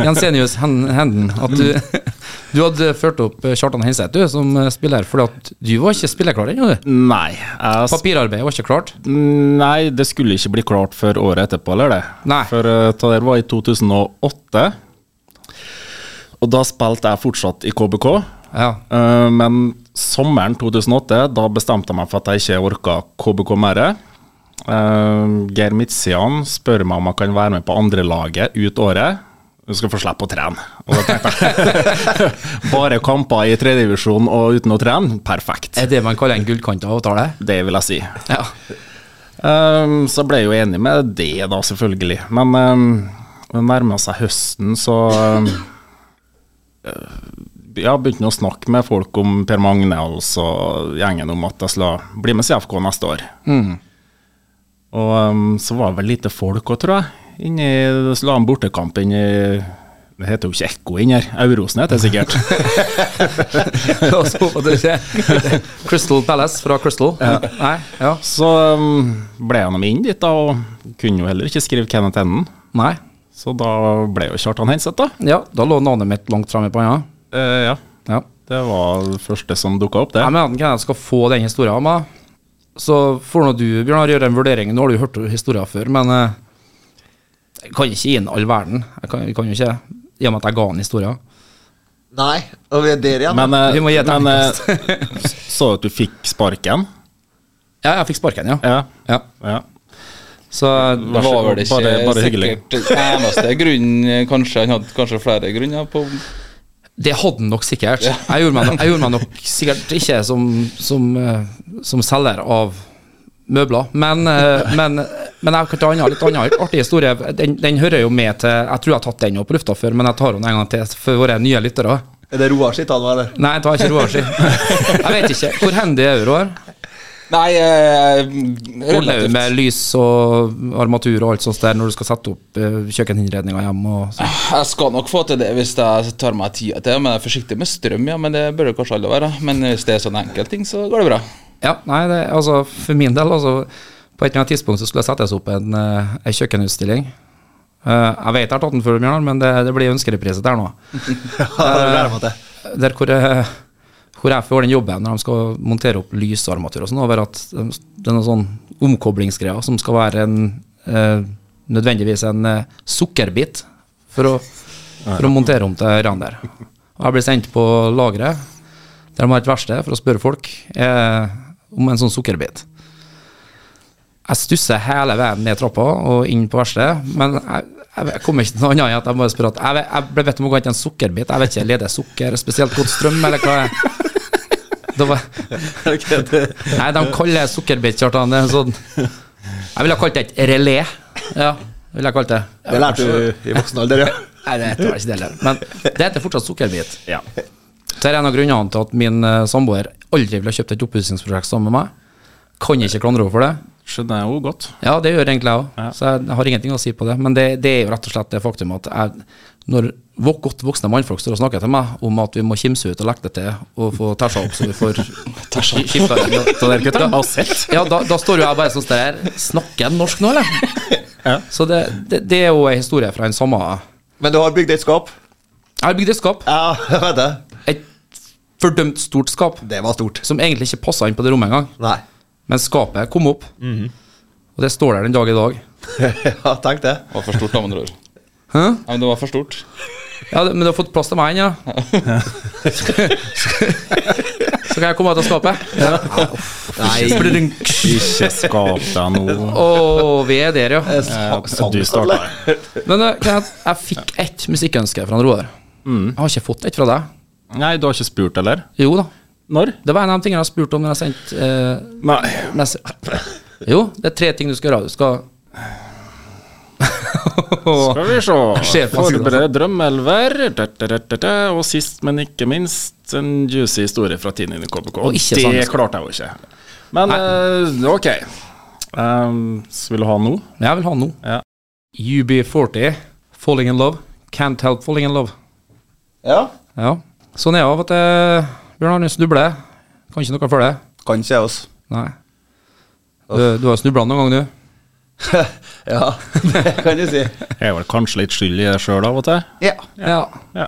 Jensenius Hen- Henden, at du, Mm. du hadde ført opp eh, Kjartan Heinseth du, som eh, spiller, fordi at du var ikke spillerklar ennå, du. Nei, jeg Papirarbeidet var ikke klart. Nei, det skulle ikke bli klart før året etterpå, eller det? Nei. For eh, det der var i 2008. Og da spilte jeg fortsatt i KBK. Ja. Eh, Men sommeren 2008, da bestemte jeg meg for at jeg ikke orka KBK mer. Eh, Geir Midtsian spør meg om jeg kan være med på andrelaget ut året. Du skal få slippe å trene. Og da tenkte jeg Bare kamper i tredjedivisjon og uten å trene, perfekt. Er det man kaller en gullkanta avtale? Det vil jeg si. Ja. Ehm, så ble jeg jo enig med det, da, selvfølgelig. Men um, det nærma seg høsten, så eh, um, Ja, begynte å snakke med folk om Per Magne og så gjengen om at jeg skulle bli med CFK neste år. Og ehm, så var det vel lite folk òg, tror jeg. Inni, så la han bortekamp inni Det heter jo ikke Ekko inni her, Eurosen heter det sikkert. La oss håpe at det ikke Crystal Palace fra Crystal. Nei, ja. Så um, ble jeg nå med inn dit, da, og kunne jo heller ikke skrive Kenneth Enden. Nei. Så da ble jo Kjartan Henseth, da. Ja, da lå navnet mitt langt framme i panna. Eh, ja, Ja. det var det første som dukka opp, det. Jeg mener at jeg skal få den historien av meg. Så får nå du, Bjørnar, gjøre en vurdering. Nå har du jo hørt historien før, men eh, jeg kan ikke gi den all verden. Jeg kan, jeg kan jo ikke, I og med at jeg ga den historien. Nei, og vi er der igjen. Men, eh, Vi må gi et men eh, terningkast. så at du fikk sparken? Ja, jeg fikk sparken, ja. Ja. ja. ja. Så Vær Det så var god. vel ikke Bare- bare hyggelig. sikkert eneste grunnen, kanskje. Han hadde kanskje flere grunner på Det hadde han nok sikkert. Jeg gjorde meg nok, jeg gjorde meg nok sikkert ikke som, som, eh, som selger av møbler, men, eh, men, men jeg kan ta en annen- litt annen artig historie. Den, den hører jo med til Jeg tror jeg har tatt den opp på lufta før, men jeg tar den en gang til for våre nye lyttere. Er det Roar sitt han var der? Nei, jeg tar ikke Roar si. Jeg vet ikke. Hvor handy er Roar? Nei, eh, Hvor lever du med relativt. lys og armatur og alt sånt der når du skal sette opp eh, kjøkkeninnredninger hjemme og sånn? Jeg skal nok få til det hvis jeg tar meg tida til det. Men jeg er forsiktig med strøm, ja. Men det bør jo kanskje alle være. Men hvis det er sånne enkelte ting, så går det bra. Ja, nei, det, altså for min del, altså På et eller annet tidspunkt så skulle det settes opp en, eh, en kjøkkenutstilling. Eh, jeg vet jeg har tatt den før, Bjørnar, men det, det blir ønskereprise der nå. Ja, det gleder jeg meg til. Der hvor, jeg- hvor jeg får den jobben når de skal montere opp lysarmatur og sånn, over at de- det er noen sånn omkoblingsgreier som skal være en eh, nødvendigvis en eh, sukkerbit for å, for å montere om til Rander. Og jeg blir sendt på lageret, der de har et verksted, for å spørre folk eh, om en sånn sukkerbit. Jeg stusser hele veien ned trappa og inn på verkstedet, men jeg, jeg, jeg kommer ikke til noe annet enn at jeg bare spør at jeg, vet- jeg ble bedt om å gå og hente en sukkerbit. Jeg vet ikke, leder sukker spesielt godt strøm, eller hva er det? Var, nei, de kaller det sukkerbit, Kjartan. Det er en sånn Jeg ville ha kalt det et relé. Ja, ville jeg kalt det. Det lærte du i voksen alder, ja. Nei, det heter vel ikke det heller. Men det heter fortsatt sukkerbit. ja. Det er en av grunnene til at min eh, samboer aldri ville ha kjøpt et oppussingsprosjekt sammen med meg. Kan ikke klandre henne for det. Skjønner jeg jo godt. Ja, det gjør egentlig jeg òg, så jeg har ingenting å si på det. Men det, det er jo rett og slett det faktum at jeg, når vok- godt voksne mannfolk står og snakker til meg om at vi må kimse ut og legge det til og få tæsja opp så vi får skifta ja, da, da står jo jeg bare sånn der Snakker jeg norsk nå, eller? Så det, det, det er jo en historie fra en samme Jeg Men du har bygd et skap? har bygd et skap, Ja, jeg vet det. et fordømt stort skap, Det var stort. som egentlig ikke passa inn på det rommet engang. Nei. Men skapet kom opp, og det står der den dag i dag. ja, tenk det. Det var for stort, da, med andre ord. Hæ? Ja, men det var for stort. Ja, det- men du har fått plass til meg igjen, ja. Så kan jeg komme ut av skapet. Nei, Ikke skap deg nå. Og vi er der, ja. Du starta. Men eh, Kenneth, jeg fikk ett musikkønske fra han Roar. Jeg har ikke fått ett fra deg. Nei, du har ikke spurt, eller? Jo da. Når? Det var en av de tingene jeg spurte om når jeg sendte eh, Nei. mess- Jo, det er tre ting du skal gjøre. Du skal Skal vi se. Sjef, hva skal du ha? Forbered drømmelver. Da, da, da, da, da. Og sist, men ikke minst, en juicy historie fra tiden i KBK. Og Og ikke det samisk. klarte jeg jo ikke. Men eh, ok. Um, så vil du ha nå? Men jeg vil ha den nå. Ja. UB40, 'Falling in Love'. Can't help falling in love. Ja. Ja. Sånn er jeg av at jeg, Bjørn Arne snubler. Kan ikke noe for det. Kan ikke jeg også. Nei. Du, du har snubla noen gang, du. ja, det kan du si. Jeg er vel kanskje litt skyld i det sjøl av og til. Ja. Ja. Ja.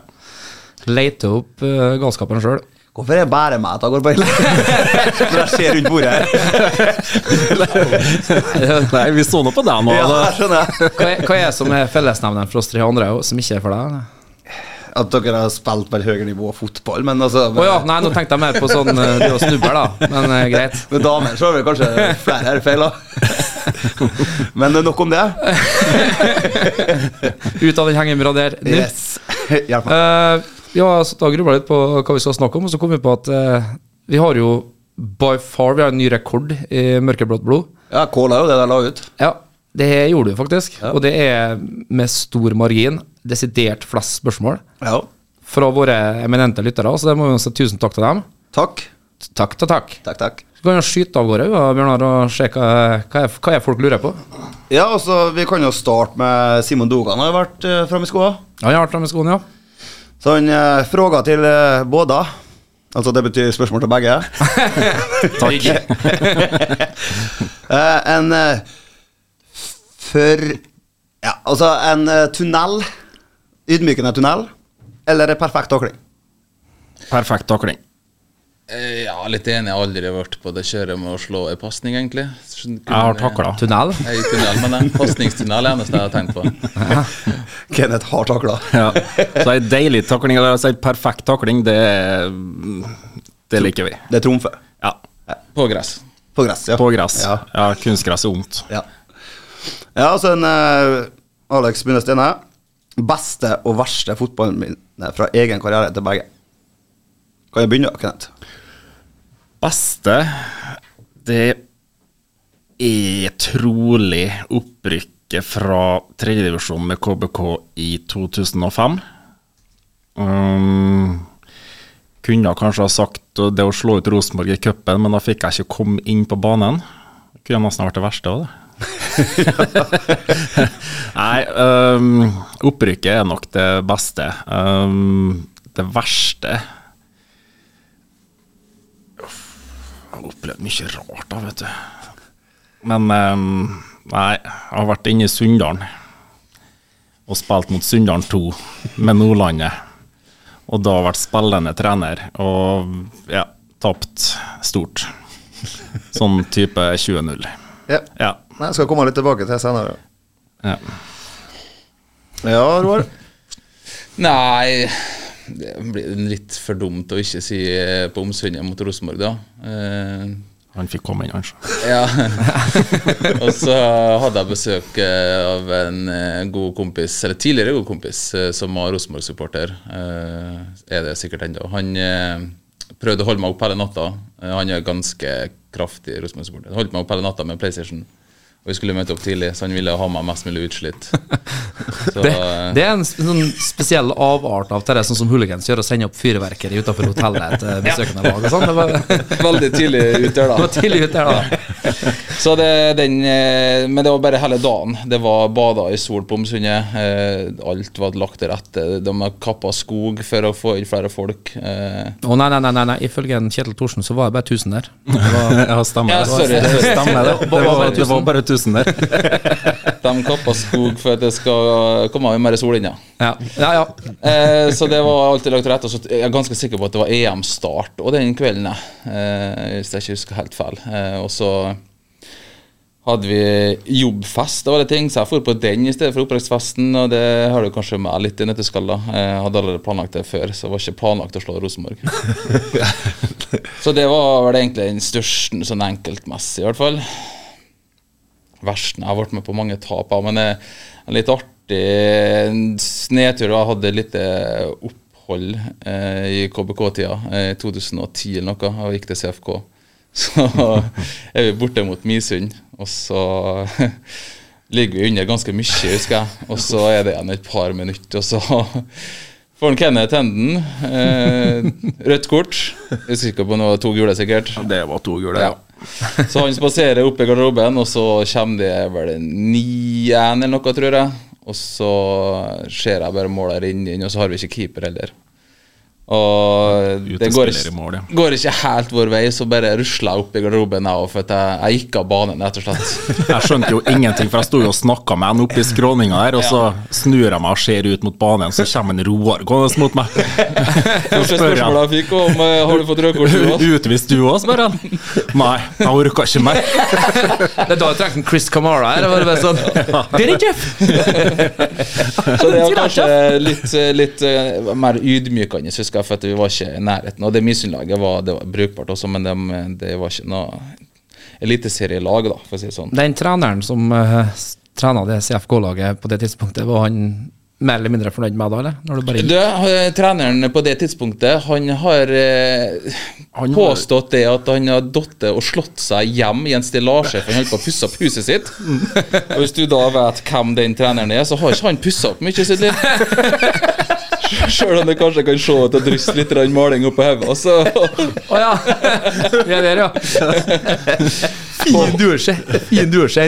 Leite opp eh, galskapen sjøl. Hvorfor er det bare meg at jeg går på hele Når jeg ser rundt bordet her. Nei, vi så nå på deg nå. Ja, da. det skjønner jeg. Hva, er- hva er det som er fellesnevneren for oss tre andre og som ikke er for deg? Å At dere har spilt på et høyere nivå av fotball, men altså med, ja, nei, nå tenkte jeg mer på sånn eh, det å snuble, da. Men eh, greit. med damer så har vi kanskje flere her feil, da. Men nok om det. Ut av den hengemyra der. Nå. Yes. Hjelp meg. Eh, ja, så da grubla litt på hva vi skal snakke om, og så kom vi på at eh, vi har jo by far vi har en ny rekord i mørkeblått blod. Ja, Kåla er jo det jeg la ut. Ja, det gjorde du faktisk. Og det er med stor margin desidert flest spørsmål Ja. fra våre eminente lyttere, så det må vi si tusen takk til dem. Takk. Takk til takk. Takk, takk. Så kan vi skyte av gårde ja, Bjørnar, og se hva, hva, er, hva er folk lurer på. Ja, altså, Vi kan jo starte med Simon Dogan har jo vært uh, framme i skoa. Ja, jeg har vært fremme i skoene, ja. Så han uh, fråga til uh, båda. Altså det betyr spørsmål til begge. Takk. Eh, en eh, for Ja, altså en eh, tunnel. Ydmykende tunnel. Eller en perfekt takling. Perfekt takling. Eh, Ja, litt enig. Jeg har aldri vært på det kjøret med å slå ei pasning, egentlig. Jeg Jeg har takla. Tunnel. Jeg gikk tunnel, men en pasningstunnel er det eneste jeg har tenkt på. Kenneth har takla. Ja. Så ei deilig takling, eller altså ei perfekt takling, det, er- det liker vi. Det er trumfe. Ja. På gress. På gress. Ja. På gress. Ja, Ja, kunstgress er vondt. ja. ja altså en eh, Alex Bunne Stene. Beste og verste fotballminne fra egen karriere til begge. Kan jeg begynne, Kenneth? Beste Det er trolig opprykket fra tredjedivisjon med KBK i 2005. Um, kunne kanskje ha sagt det å slå ut Rosenborg i cupen, men da fikk jeg ikke komme inn på banen. Det kunne nesten vært det verste av det. Nei, um, opprykket er nok det beste. Um, det verste Jeg har opplevd mye rart, da, vet du. Men ehm, nei, jeg har vært inne i Sunndalen og spilt mot Sunndalen 2 med Nordlandet. Og da vært spillende trener og ja, tapt stort. Sånn type 20-0. Ja. Ja. Nei, jeg skal komme litt tilbake til senere. ja. Ja, Roar. Nei, det blir litt for dumt å ikke si eh, på omsundet mot Rosenborg, da. Eh, Han fikk komme inn, kanskje. ja. og så hadde jeg besøk eh, av en eh, god kompis, eller tidligere god kompis, eh, som var Rosenborg-supporter. Eh, er det sikkert ennå. Han eh, prøvde å holde meg opp hele natta. Eh, han er ganske kraftig Rosenborg-supporter. Holdt meg opp hele natta med PlayStation. Og vi skulle møte opp tidlig, så han ville ha meg mest mulig utslitt. Så, Det, eh, det er en sp- sånn spesiell avart av det der, sånn som hooligans gjør, å sende opp fyrverkeri utenfor hotellet til besøkende lag og sånn. Det var, det Veldig tidlig ut der, var da. tidlig ut der, da. Så det, den, eh, men det var bare hele dagen. Det var bada i sol på Omsundet. eh, Alt var lagt til rette. De har kappa skog for å få inn flere folk. eh. Å nei, nei, nei, nei, nei, ifølge en Kjetil Thorsen så var det bare 1000 der. Ja, stemmer Ja, sorry. det. Stemmer det. Det var, det var bare 1000 der. De kappa skog for at det skal komme mer sol inn, ja. Ja, ja. ja. Eh, så det var alltid lagt til rette. Og så t- jeg er ganske sikker på at det var E EM-start og den kvelden, jeg, eh, hvis jeg ikke husker helt feil. Eh, og så hadde vi jobbfest og alle ting, så jeg dro på den i stedet for oppdragsfesten. Og det har du kanskje med litt i nøtteskalla. Jeg hadde allerede planlagt det før, så det var ikke planlagt å slå Rosenborg. så det var vel egentlig den største sånn enkeltmessig, i hvert fall. Versten jeg har vært med på mange tap av, men det er en litt artig snedtur. og Jeg hadde litt eh, opphold eh, i KBK-tida, eh, i 2010 eller noe, og gikk til CFK. Så er vi borte mot Misund, og så ligger vi under ganske mye, husker jeg. Og så er det igjen et par minutter, og så får han Kenneth Henden eh, rødt kort. Jeg husker ikke på noe, to gule sikkert. Det var to gule, Ja. Så han spaserer opp i garderoben, og så kommer det vel en 9-1 eller noe, tror jeg. Og så ser jeg bare målet renne inn, og så har vi ikke keeper heller. Og det går Utespiller i ikke, mål, ja. går ikke helt vår vei, så bare rusla jeg opp i garderoben, jeg òg, for at jeg, jeg gikk av banen, rett og slett. Jeg skjønte jo ingenting, for jeg sto jo og snakka med han oppe i skråninga der, og så snur jeg meg og ser ut mot banen, så kommer en Roar gående mot meg. Første spørsmålet jeg fikk, var om eh, har du fått rødt kort? du også?» Utvist du òg, spør han. Nei, jeg orka ikke mer. Det er da jeg trekker en Chris Camara her. Det var bare sånn Det er ikke Så det var kanskje litt, litt eh, mer ydmykende, husker jeg, for at vi var ikke i nærheten. Og det Misunlaget var, det var brukbart også, men det, det var ikke noe eliteserielag, da, for å si det sånn. Den treneren som uh, trena det CFK-laget på det tidspunktet, var han mer eller mindre fornøyd med da, eller? Når du bare Du, eh, treneren på det tidspunktet, han har eh, Han var- påstått det at han har datt og slått seg hjem i en stillasje, for han holdt på å pusse opp huset sitt. Og hvis du da vet hvem den treneren er, så har ikke han pussa opp mye i sitt liv. Sjøl om det kanskje kan se ut og drysse litt grann maling oppå hodet, så Å ja! Vi er der, ja. Fin duesje. Fin duesje.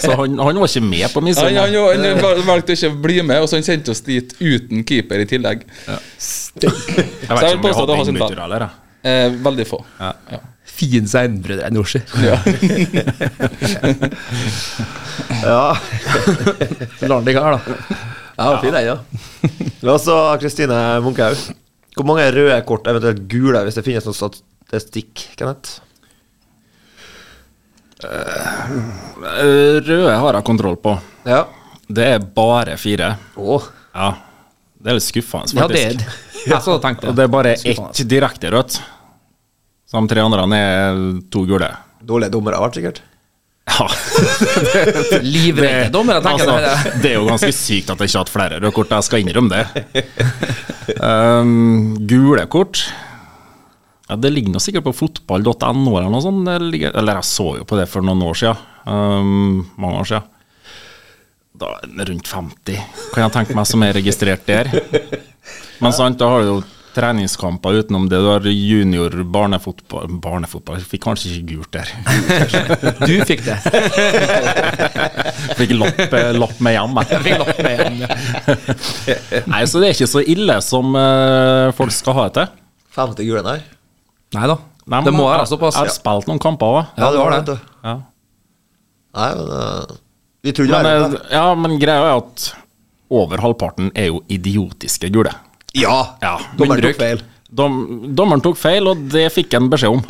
Så han, han var ikke med på Han, han, misunnelse. jo- han val- valgte ikke å bli med, og så han sendte oss dit uten keeper i tillegg. Jeg vet Så jeg ikke om vil vi påstå at det hadde var sin innbytter eller jeg. Eh, veldig få. Fin seinbrødre enn Norsi. Ja. Lar han ligge her, da. Ja, fin den, ja. La oss ha Kristine Munkhaug. Hvor mange røde kort, eventuelt gule, hvis det finnes noen statistikk? Kenneth? Eh, Røde har jeg kontroll på. Ja. Det er bare fire. Åh. Ja. Det er litt skuffende, Ja, det er faktisk. det. Jeg så det tenkte Og det er bare Skuffende. ett direkte rødt. Så de tre andre er to gule. Dårlige dommere har vært, sikkert. Ja. Livredde dommere, tenker jeg. det her. altså, det er jo ganske sykt at jeg ikke har hatt flere røde kort. Jeg skal innrømme det. Um, gule kort ja, Det ligger nå sikkert på fotball.no eller noe sånt. Det ligger, eller jeg så jo på det for noen år siden. Um, mange år siden. Da er det rundt 50, kan jeg tenke meg, som er registrert der. Men sant, da har du jo treningskamper utenom det. Du har junior, barnefotball Barnefotball, jeg fikk kanskje ikke gult der. Du fikk det. Fikk lapp, eh, lapp med hjem. Jeg. Fikk lagt meg igjen. Nei, så det er ikke så ille som eh, folk skal ha det til. 50 gule der. Nei da. Nei, Det men må jeg- være såpass. Jeg har spilt noen kamper òg. Ja, det var det. vet du. Ja. Nei, men eh, Vi trodde Men, verden, eh, da. ja, men greia er at over halvparten er jo idiotiske gule. Ja! Ja. Dommeren Mindbruk. tok feil. Dom, dommeren tok feil, og det fikk han beskjed om.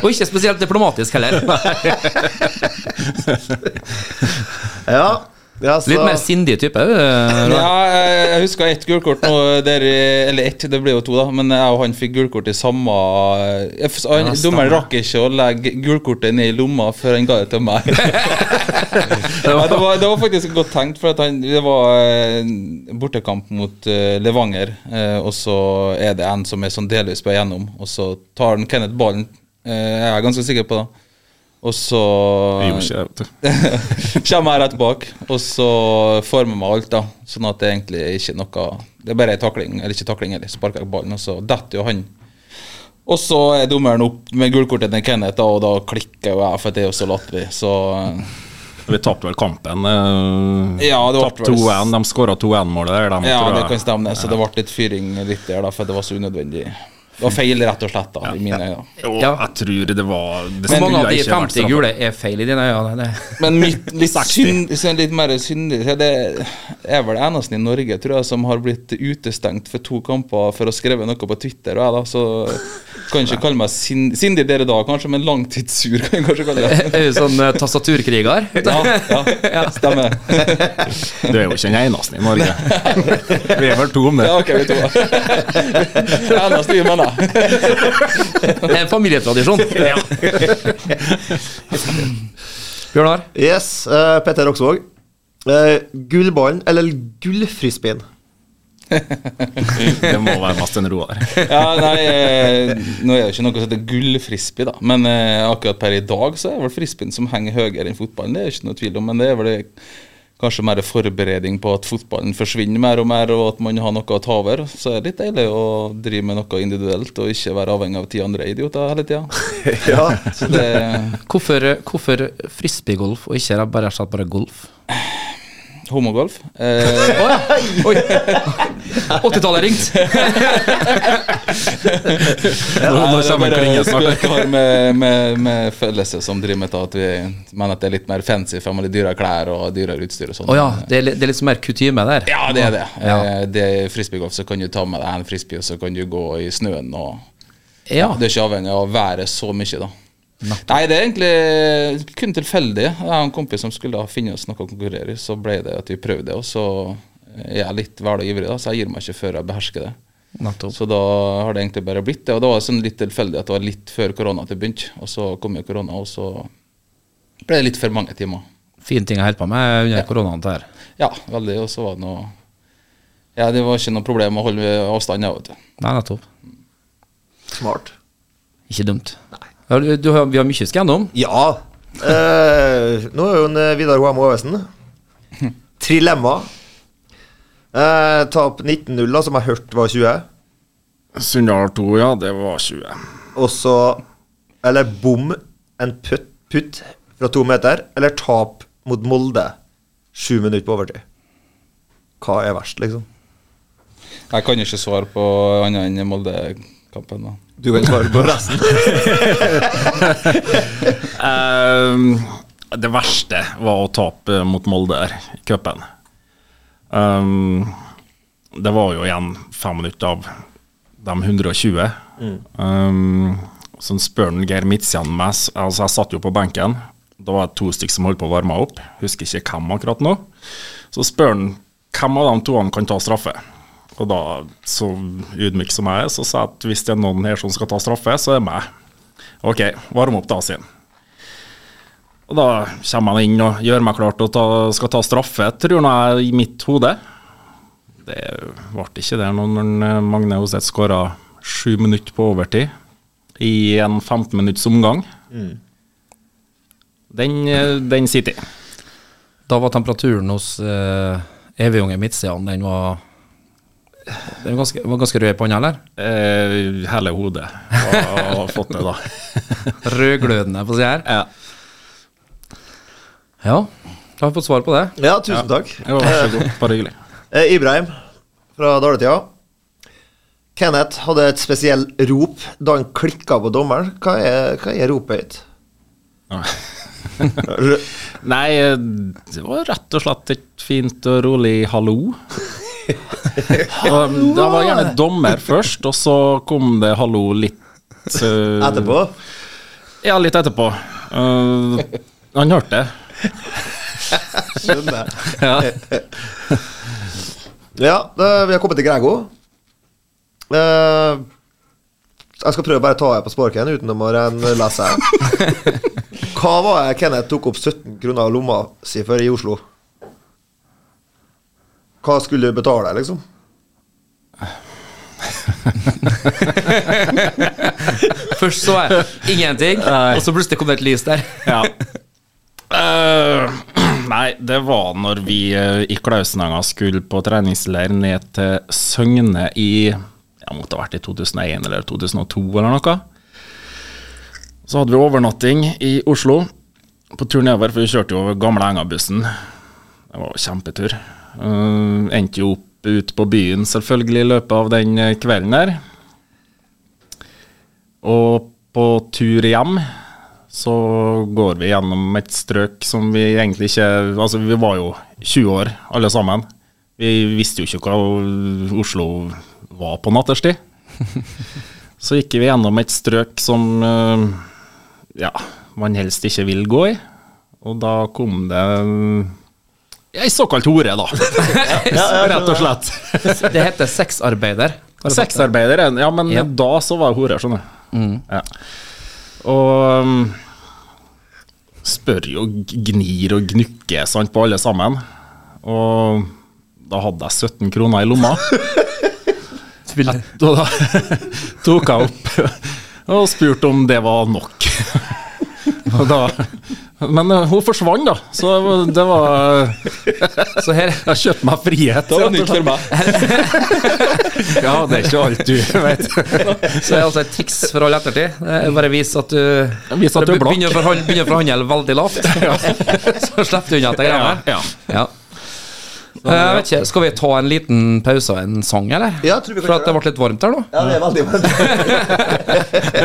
Og ikke spesielt diplomatisk heller. Ja. ja så, Litt mer sindig type. Eh, øh, Ja, eh, jeg, jeg husker ett gulkort nå, der, i- eller ett, det ble jo to, da. Men jeg og han fikk gulkort i samme eh, jeg f- han, Dommeren rakk ikke å legge gulkortet ned i lomma før han ga det til meg. Nei, det, var, det var faktisk godt tenkt, for at han, det var eh, bortekamp mot eh, Levanger. eh, og så er det en som er sånn delvis på igjennom, og så tar den Kenneth ballen. eh, jeg er ganske sikker på det. Og så Vi gjorde ikke det, vet du. kommer jeg rett bak, og så former meg alt, da. Sånn at det egentlig er ikke noe Det er bare en takling, eller ikke takling, eller sparker jeg ballen, og så detter jo han. Og så er dommeren opp med gullkortet til Kenneth, da, og da klikker jo jeg, for det er jo så latterlig. Så Vi tapte vel kampen. eh, Ja, det var tapte 2-1. De skåra 2-1-målet der. De, ja, tror det jeg. kan stemme, det. Så det ble litt fyring litt der, da, for det var så unødvendig. Det var feil, rett og slett, da, i mine øyne. Jo, Ja. jeg tror det var det Hvor skulle mange av de ikke vært 50 straffe. gule er feil i dine øyne? Det. Men mitt litt, synd, sånn litt mer syndig så Det er vel det eneste i Norge tror jeg, som har blitt utestengt for to kamper for å ha skrevet noe på Twitter. Og jeg da, så Kan ikke kalle meg sin, sindig der i dag, kanskje, men langtidssur kan jeg kanskje kalle det. Er du sånn eh, tastaturkriger? Ja, ja, stemmer. Du er jo ikke den eneste i Norge. Vi er vel to om det. Ja, ok, vi to. Ellers vi mener. Det er en familietradisjon. Bjørnar? Yes, eh, Petter Oksvåg. Eh, gullballen, eller gullfrisbeen? Det må være mest en Roar. Ja, nei, eh, nå er det ikke noe som heter gullfrisbee, da. Men eh, akkurat per i dag så er vel frisbeen som henger høyere enn fotballen. Det er ikke noe tvil om, men det er vel kanskje mer forberedning på at fotballen forsvinner mer og mer, og at man har noe å ta over. Så er det litt deilig å drive med noe individuelt, og ikke være avhengig av ti andre idioter hele tida. ja. Så det Hvorfor, eh, hvorfor frisbeegolf og ikke bare, rett og slett bare golf? Homogolf. Eh, Å ja. Oi! 80-tallet ringte. Nå- nå Nei, det er kommer bare klingen snart. spøk her med, med, med følelse som driver med at vi mener at det er litt mer fancy for med litt dyrere klær og dyrere utstyr og sånn. Å ja, det er, li- det er litt mer kutyme der. Ja, det er det. Ja. Eh, Det er frisbeegolf, så kan du ta med deg en frisbee, og så kan du gå i snøen og Ja. Du er ikke avhengig av været så mye, da. Nei, det er egentlig kun tilfeldig. Jeg har en kompis som skulle da finne oss noe å konkurrere i, så ble det at vi prøvde det, og så eh, er jeg litt vel og ivrig, da, så jeg gir meg ikke før jeg behersker det. Nettopp. Så da har det egentlig bare blitt det. Og det var sånn litt tilfeldig at det var litt før korona at det begynte. Og så kom jo korona, og så ble det litt for mange timer. Fin ting jeg holder på med under koronaen. til her. Ja, veldig. Og så var det noe Ja, det var ikke noe problem å holde avstand, da, vet du. Nei, nettopp. Smart. Ikke dumt. Ja, Du, du, har- vi har mye å skjære om. Ja. Eh, nå er jo en eh, Vidar Hoem Ovesen. Trilemma. Eh, tap 19-0, da, som jeg hørte var 20. Sunndal 2, ja. Det var 20. Og så Eller bom en putt, putt fra to meter. Eller tap mot Molde sju minutter på overtid. Hva er verst, liksom? Jeg kan ikke svare på annet enn Molde-kampen. da. Du kan svare på resten. Eh, det verste var å tape mot Molde her i cupen. Um, det var jo igjen fem minutter av de 120. Um, så spør han Geir Midtsjan meg s- altså Jeg satt jo på benken. Da var det to stykker som holdt på å varme opp. Husker ikke hvem akkurat nå. Så spør han hvem av de to han kan ta straffe. Og da, så ydmyk som jeg er, så sa jeg at hvis det er noen her som skal ta straffe, så er det meg. OK, varm opp da, sier han. Og da kommer han inn og gjør meg klar til å ta, skal ta straffe, tror jeg, i mitt hode. Det ble ikke det når når Magne Hoseth skåra sju minutter på overtid i en 15 minutts omgang. Den, eh, den sitter i. Da var temperaturen hos uh, Evigungen Midtsidan, den var den var ganske, var ganske rød i panna, eller? Eh, hele hodet har har fått det, da. Rødglødende, for å si her. Ja. Ja, da har vi fått svar på det. Ja, tusen takk. Jo, Vær så god, bare hyggelig. Eh, Ibrahim fra Daletida. Kenneth hadde et spesielt rop da han klikka på dommeren. Hva er, hva er ropet ditt? R- Nei, eh, det var rett og slett et fint og rolig hallo. Og Det var gjerne dommer først, og så kom det hallo litt eh, Etterpå? Ja, litt etterpå. Eh, han hørte det. Skjønner jeg. Ja. Ja, da- vi har kommet til Grego. Eh, jeg skal prøve bare å ta deg på sparken utenom å ren- lese her. Hva var det Kenneth tok opp 17 kroner av lomma si for i Oslo? Hva skulle du betale, liksom? Først så jeg ingenting, Nei. og så plutselig kom det et lys der. ja. Eh, nei, det var når vi eh, i Klausenanga skulle på treningsleir ned til Søgne i Jeg måtte ha vært i 2001 eller 2002 eller noe. Så hadde vi overnatting i Oslo på tur nedover, for vi kjørte jo gamle Enga-bussen. Det var jo kjempetur. Eh, endte jo opp ute på byen, selvfølgelig, i løpet av den eh, kvelden der. Og på tur hjem så går vi gjennom et strøk som vi egentlig ikke Altså, vi var jo 20 år, alle sammen. Vi visste jo ikke hva Oslo var på nattestid. Så gikk vi gjennom et strøk som eh, ja, man helst ikke vil gå i. Og da kom det eh, ei såkalt hore, da. Rett og slett. Det heter sexarbeider. Har du fått det? Sexarbeider, er- ja, Mm. men Ja. da så var det hore, skjønner du. Ja. Og um, spør jo gnir og gnukker sant, på alle sammen. Og da hadde jeg 17 kroner i lomma. Da, da tok jeg opp og spurte om det var nok. Og da, men eh, hun forsvant, da. Så det var Så her Jeg kjøpte meg frihet. Det var rett og nytt for meg. slett. Ja, det er ikke alt du vet. så er det altså et triks for all ettertid. Det er Bare vis at du, Vis at du er blakk. begynner å forhand- begynner å forhandle veldig lavt, så slipper du unna dette Ja, greiene. ja. Ja. Jeg vet ikke, Skal vi ta en liten pause og en sang, eller? Ja, tror vi kan For at det gjøre ble litt varmt her nå. Ja, det er veldig vanskelig.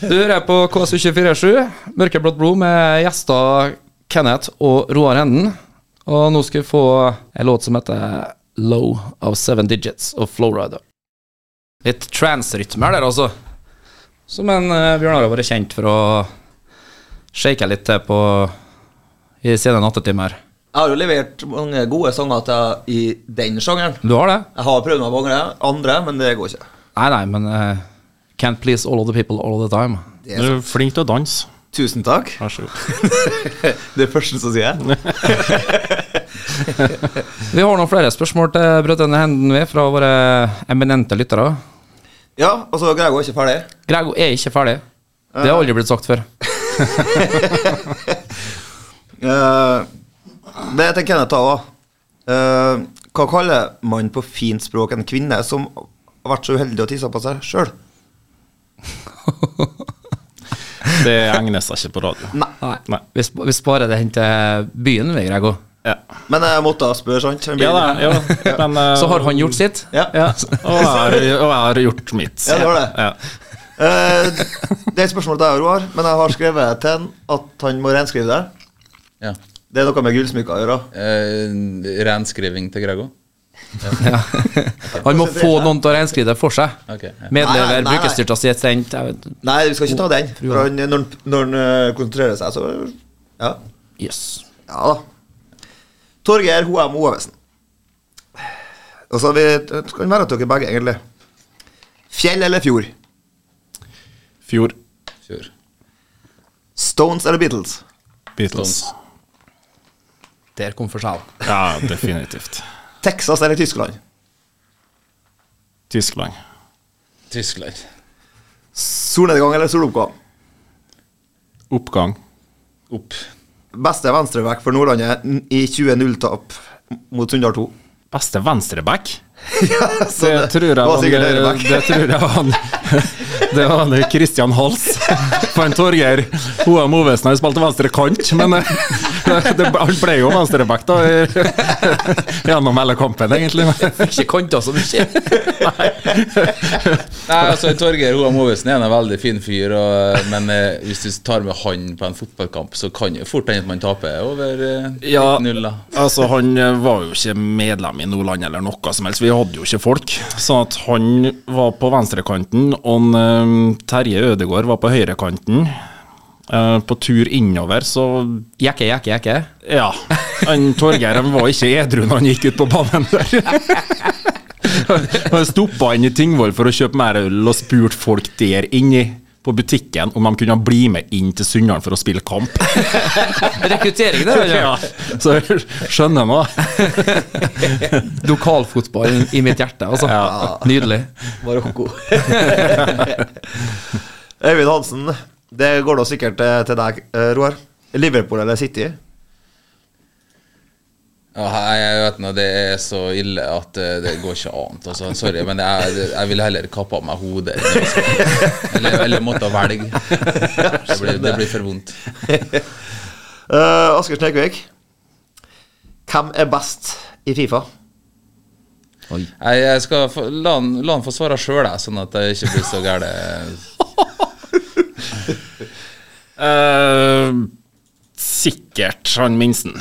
Du hører på KSU247, Mørkeblått blod, med gjester Kenneth og Roar Henden. Og nå skal vi få en låt som heter Low of Seven Digits og Flowrider. Litt trans-rytmer der, altså. Som en eh, Bjørnar har vært kjent for å shake litt til på i sene nattetimer. Jeg har jo levert mange gode sanger til i den sjangeren. Du har det? Jeg har prøvd meg på andre, andre, men det går ikke. Nei, nei, men eh, Can't please all of the people all of the time. Du er flink til å danse. Tusen takk. Vær så god. Det er første som sier jeg. Vi har noen flere spørsmål til brødrene Henden vi, fra våre eminente lyttere. Ja, altså, Grego er ikke ferdig. Grego er ikke ferdig. Det har aldri blitt sagt før. Eh, det tenker Kenneth ta òg. hva kaller man på fint språk en kvinne som har vært så uheldig å tisse på seg sjøl? Det egner seg ikke på radio. Nei. Nei. Vi, sp vi sparer det hen til byen, vi, Grego. Ja. Men jeg måtte spørre, sant? Han blir- Ja, da, ja. da. Men, eh, Så har han gjort sitt. Ja. ja. Og jeg har- og jeg har gjort mitt. Ja, det var det. Ja. Eh, det er et spørsmål til deg, Roar, men jeg har skrevet til han at han må renskrive det. Ja. Det er noe med gullsmykker å gjøre. Eh, renskriving til Grego? Han må få noen til å renskrive det for seg. Ok, ja. Nei, Medlever, nei. brukerstyrt assistent jeg vet- Nei, vi skal ikke ta den. For han, når, han, når han eh, konsentrerer seg, så Ja, Jøss. ja da. Torgeir Hoem Ovesen. Altså, vi det kan være at dere begge, egentlig. Fjell eller fjord? Fjord. Fjord. Stones eller Beatles? Beatles. Der kom forskjellen. Ja, definitivt. Texas eller Tyskland? Tyskland. Tyskland. Solnedgang eller soloppgang? Oppgang. Opp. Beste venstreback for Nordlandet n- i 20-0-tap mot Sunndal 2. Beste venstreback? Så Det tror jeg var var sikkert det, høyreback. det tror jeg han Det var han Christian Hals. For en Torgeir Hoem Ovesen har jo spilt venstre kant, men eh, det, han ble jo venstreback da i- gjennom hele kampen, egentlig. Ikke altså. kanter så mye. Nei, altså Torgeir Hoam Ovesen er en veldig fin fyr, og, men eh, hvis du tar med han på en fotballkamp, så kan det fort hende at man taper over eh, 1-0. da. Altså, han eh, var jo ikke medlem i Nordland eller noe som helst. Vi hadde jo ikke folk. Sånn at han var på venstrekanten, og en, eh, Terje Ødegård var på høyrekanten. Eh, På tur innover, så Jekke, jekke, jekke. ja. Han Torgeir han var ikke edru når han gikk ut på banen der. Han stoppa inn i Tingvoll for å kjøpe mer øl og spurte folk der inni på butikken om de kunne bli med inn til Sunndal for å spille kamp. Rekruttering, det. er det. Ja, så skjønner nå. Lokalfotball i mitt hjerte, altså. Nydelig. Marokko. Øyvind Hansen, det går da sikkert til, til deg, eh, Roar. Liverpool eller City? Ja, hei, jeg vet nå, Det er så ille at eh, det går ikke annet. Altså, sorry, men jeg, jeg ville heller kappa av meg hodet. enn å skal- Eller, eller måtte velge. Det blir, det blir for vondt. Uh, Asker Snekvik, hvem er best i Fifa? Nei, jeg skal få, la, han, la han få svare sjøl, sånn at jeg ikke blir så gæren. Eh, sikkert han minsten.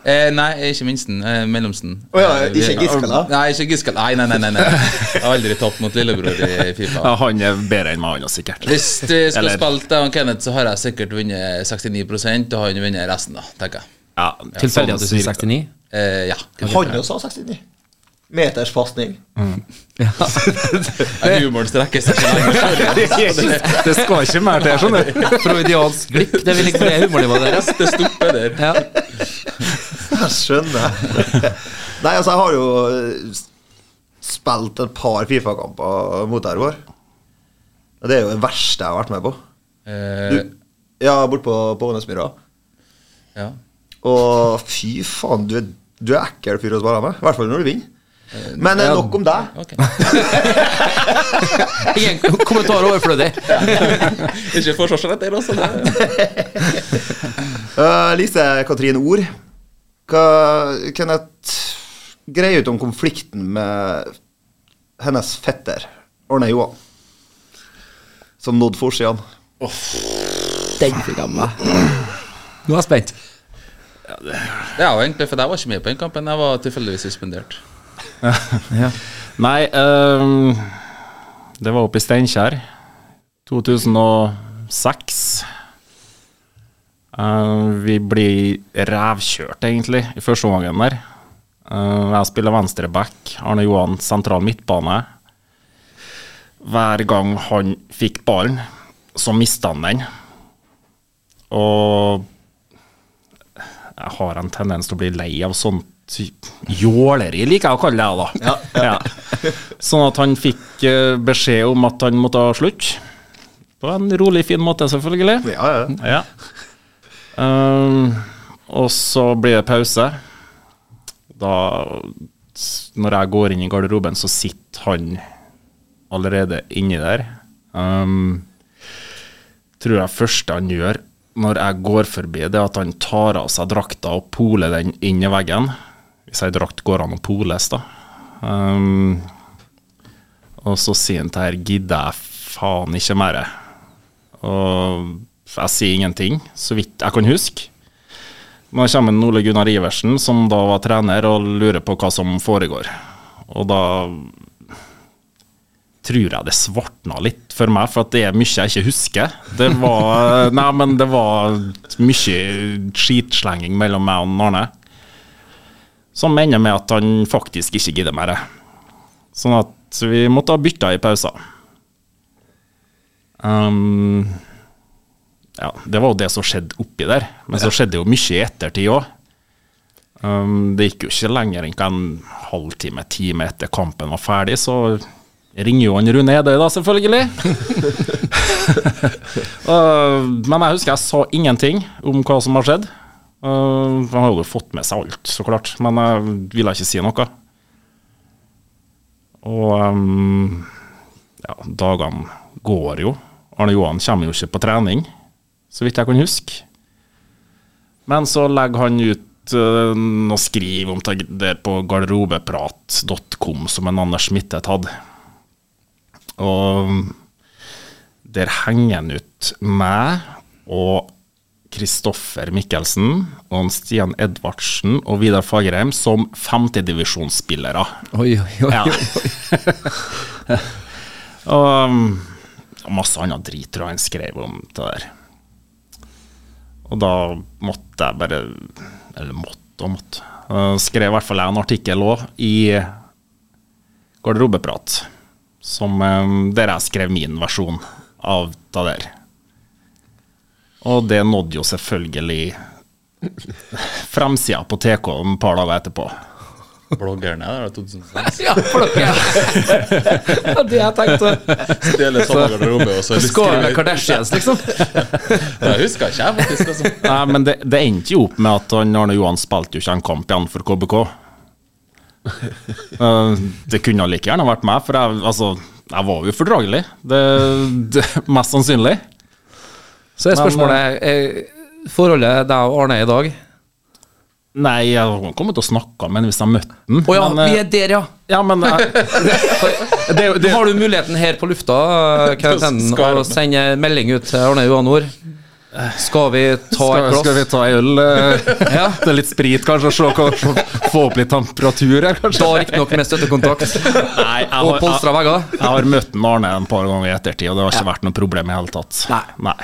Eh, nei, jeg er ikke minsten. Eh, mellomsten. Å ja, Eh, vi- ikke Giskala? Nei, ikke Giskala. Nei, nei, nei. nei, nei. Jeg har aldri tapt mot lillebror i Fifa. Ja, han er bedre enn meg, han er sikkert. Hvis du skulle Eller- spilt deg og Kenneth, så har jeg sikkert vunnet 69 og han vunnet resten, da, tenker jeg. Ja, sånn Tilfeldig at du sier cirka. 69? Eh, ja. Han jo sa 69. Meters fastning. Jeg- Humoren strekker seg ikke lenger. Det skal ikke mer til, skjønner du. Freudiansk glipp. Det vil ikke være humornivået deres. Det stopper der. Ja. Jeg skjønner. Nei, altså, jeg har jo eh, spilt et par Fifa-kamper mot deg, Roar. Og Det er jo det verste jeg har vært med på. Eh, Du, ja, bortpå på, på Ånesmyra. ja. Og fy faen, du er, du er ekkel fyr å spille med. I hvert fall når du vinner. Men eh, nok om deg. Ok. Ingen kom- kommentar overflødig. Ikke forsvarsrett der, altså. Det. Eh, Lise Katrin Ord, hva kan jeg greie ut om konflikten med hennes fetter Arne Johan? Som nådde forsidene. Den fikk jeg med meg. Nå er jeg spent. Det er jo egentlig, for jeg var ikke med på den kampen. Jeg var tilfeldigvis suspendert. Nei, ehm, det var oppe i Steinkjer. 2006. Eh, vi blir rævkjørt, egentlig, i første omgangen der. Eh, jeg spiller venstre back, Arne Johan sentral midtbane. Hver gang han fikk ballen, så mista han den. Og jeg har en tendens til å bli lei av sånt jåleri, liker jeg å kalle det. da. Ja. Sånn at han fikk eh, beskjed om at han måtte ha slutt. På en rolig, fin måte, selvfølgelig. Ja, ja. Ja. Ehm, og så blir det pause. Da, s- når jeg går inn i garderoben, så sitter han allerede inni der. Ehm, tror jeg første han gjør når jeg går forbi, det er at han tar av seg drakta og poler den inn i veggen. Hvis ei drakt går an å poles, da. Ehm, og så sier han til her gidder jeg faen ikke mer. Og jeg sier ingenting, så vidt jeg kan huske. Nå kommer en Ole Gunnar Iversen, som da var trener, og lurer på hva som foregår. Og da tror jeg det svartna litt for meg, for at det er mye jeg ikke husker. Det var, nei, men det var mye skitslenging mellom meg og Arne. Som ender med at han faktisk ikke gidder mer. Sånn at vi måtte ha bytta i pausen. Um, ja, det var jo det som skjedde oppi der. Men så skjedde jo mye i ettertid òg. Um, det gikk jo ikke lenger enn hva en halvtime, time etter kampen var ferdig, så ringer jo han Rune Edøy, da, selvfølgelig. uh, men jeg husker jeg sa ingenting om hva som har skjedd. Uh, han hadde jo fått med seg alt, så klart, men jeg ville ikke si noe. Og um, ja, dagene går jo. Arne Johan kommer jo ikke på trening, så vidt jeg kan huske. Men så legger han ut øh, noe skriv om det der på garderobeprat.com, som en Anders Smittet hadde. Og der henger han ut meg og Kristoffer Mikkelsen og han Stian Edvardsen og Vidar Fagerheim som femtedivisjonsspillere. Oi, oi, oi. Ja. og um, masse annet drit tror jeg han skrev om det der. Og da måtte jeg bare Eller måtte og måtte. Uh, skrev i hvert fall jeg en artikkel òg i Garderobeprat, som um, der jeg skrev min versjon av det der. Og det nådde jo selvfølgelig fremsida på TK et par dager etterpå. Bloggerne der, da, 2006. Ja, for dere. Ja, det jeg tenkte. Deler samme garderobe, og så Skål med Kardashians, liksom. Jeg husker ikke, jeg, faktisk. Altså. Nei, men det, det endte jo opp med at han Arne Johan spilte jo ikke en kamp igjen for KBK. Eh, det kunne like gjerne vært meg, for jeg, altså, jeg var jo fordragelig. Det, det, mest sannsynlig. Så er spørsmålet eh, Forholdet deg og Arne i dag Å Nei, jeg har kommet og snakka med ham hvis jeg møtte ham. ja, men, eh, vi er der, ja! ja, men eh, jeg, det, Nå det, eh, har du muligheten her på lufta Kenneth Henden, Skal- å sende melding ut til Arne Johan Nord. Skal vi ta et Skal, glass? skal vi ta ei øl? eh, Ja. Det er litt sprit, kanskje? og Se, hva- få- få opp litt temperatur her, kanskje? Da riktignok med støttekontakt Nei, jeg og har, polstra jeg, vegger. jeg har møtt en Arne en par ganger i ettertid, og det har ikke vært noe problem i hele tatt. Nei.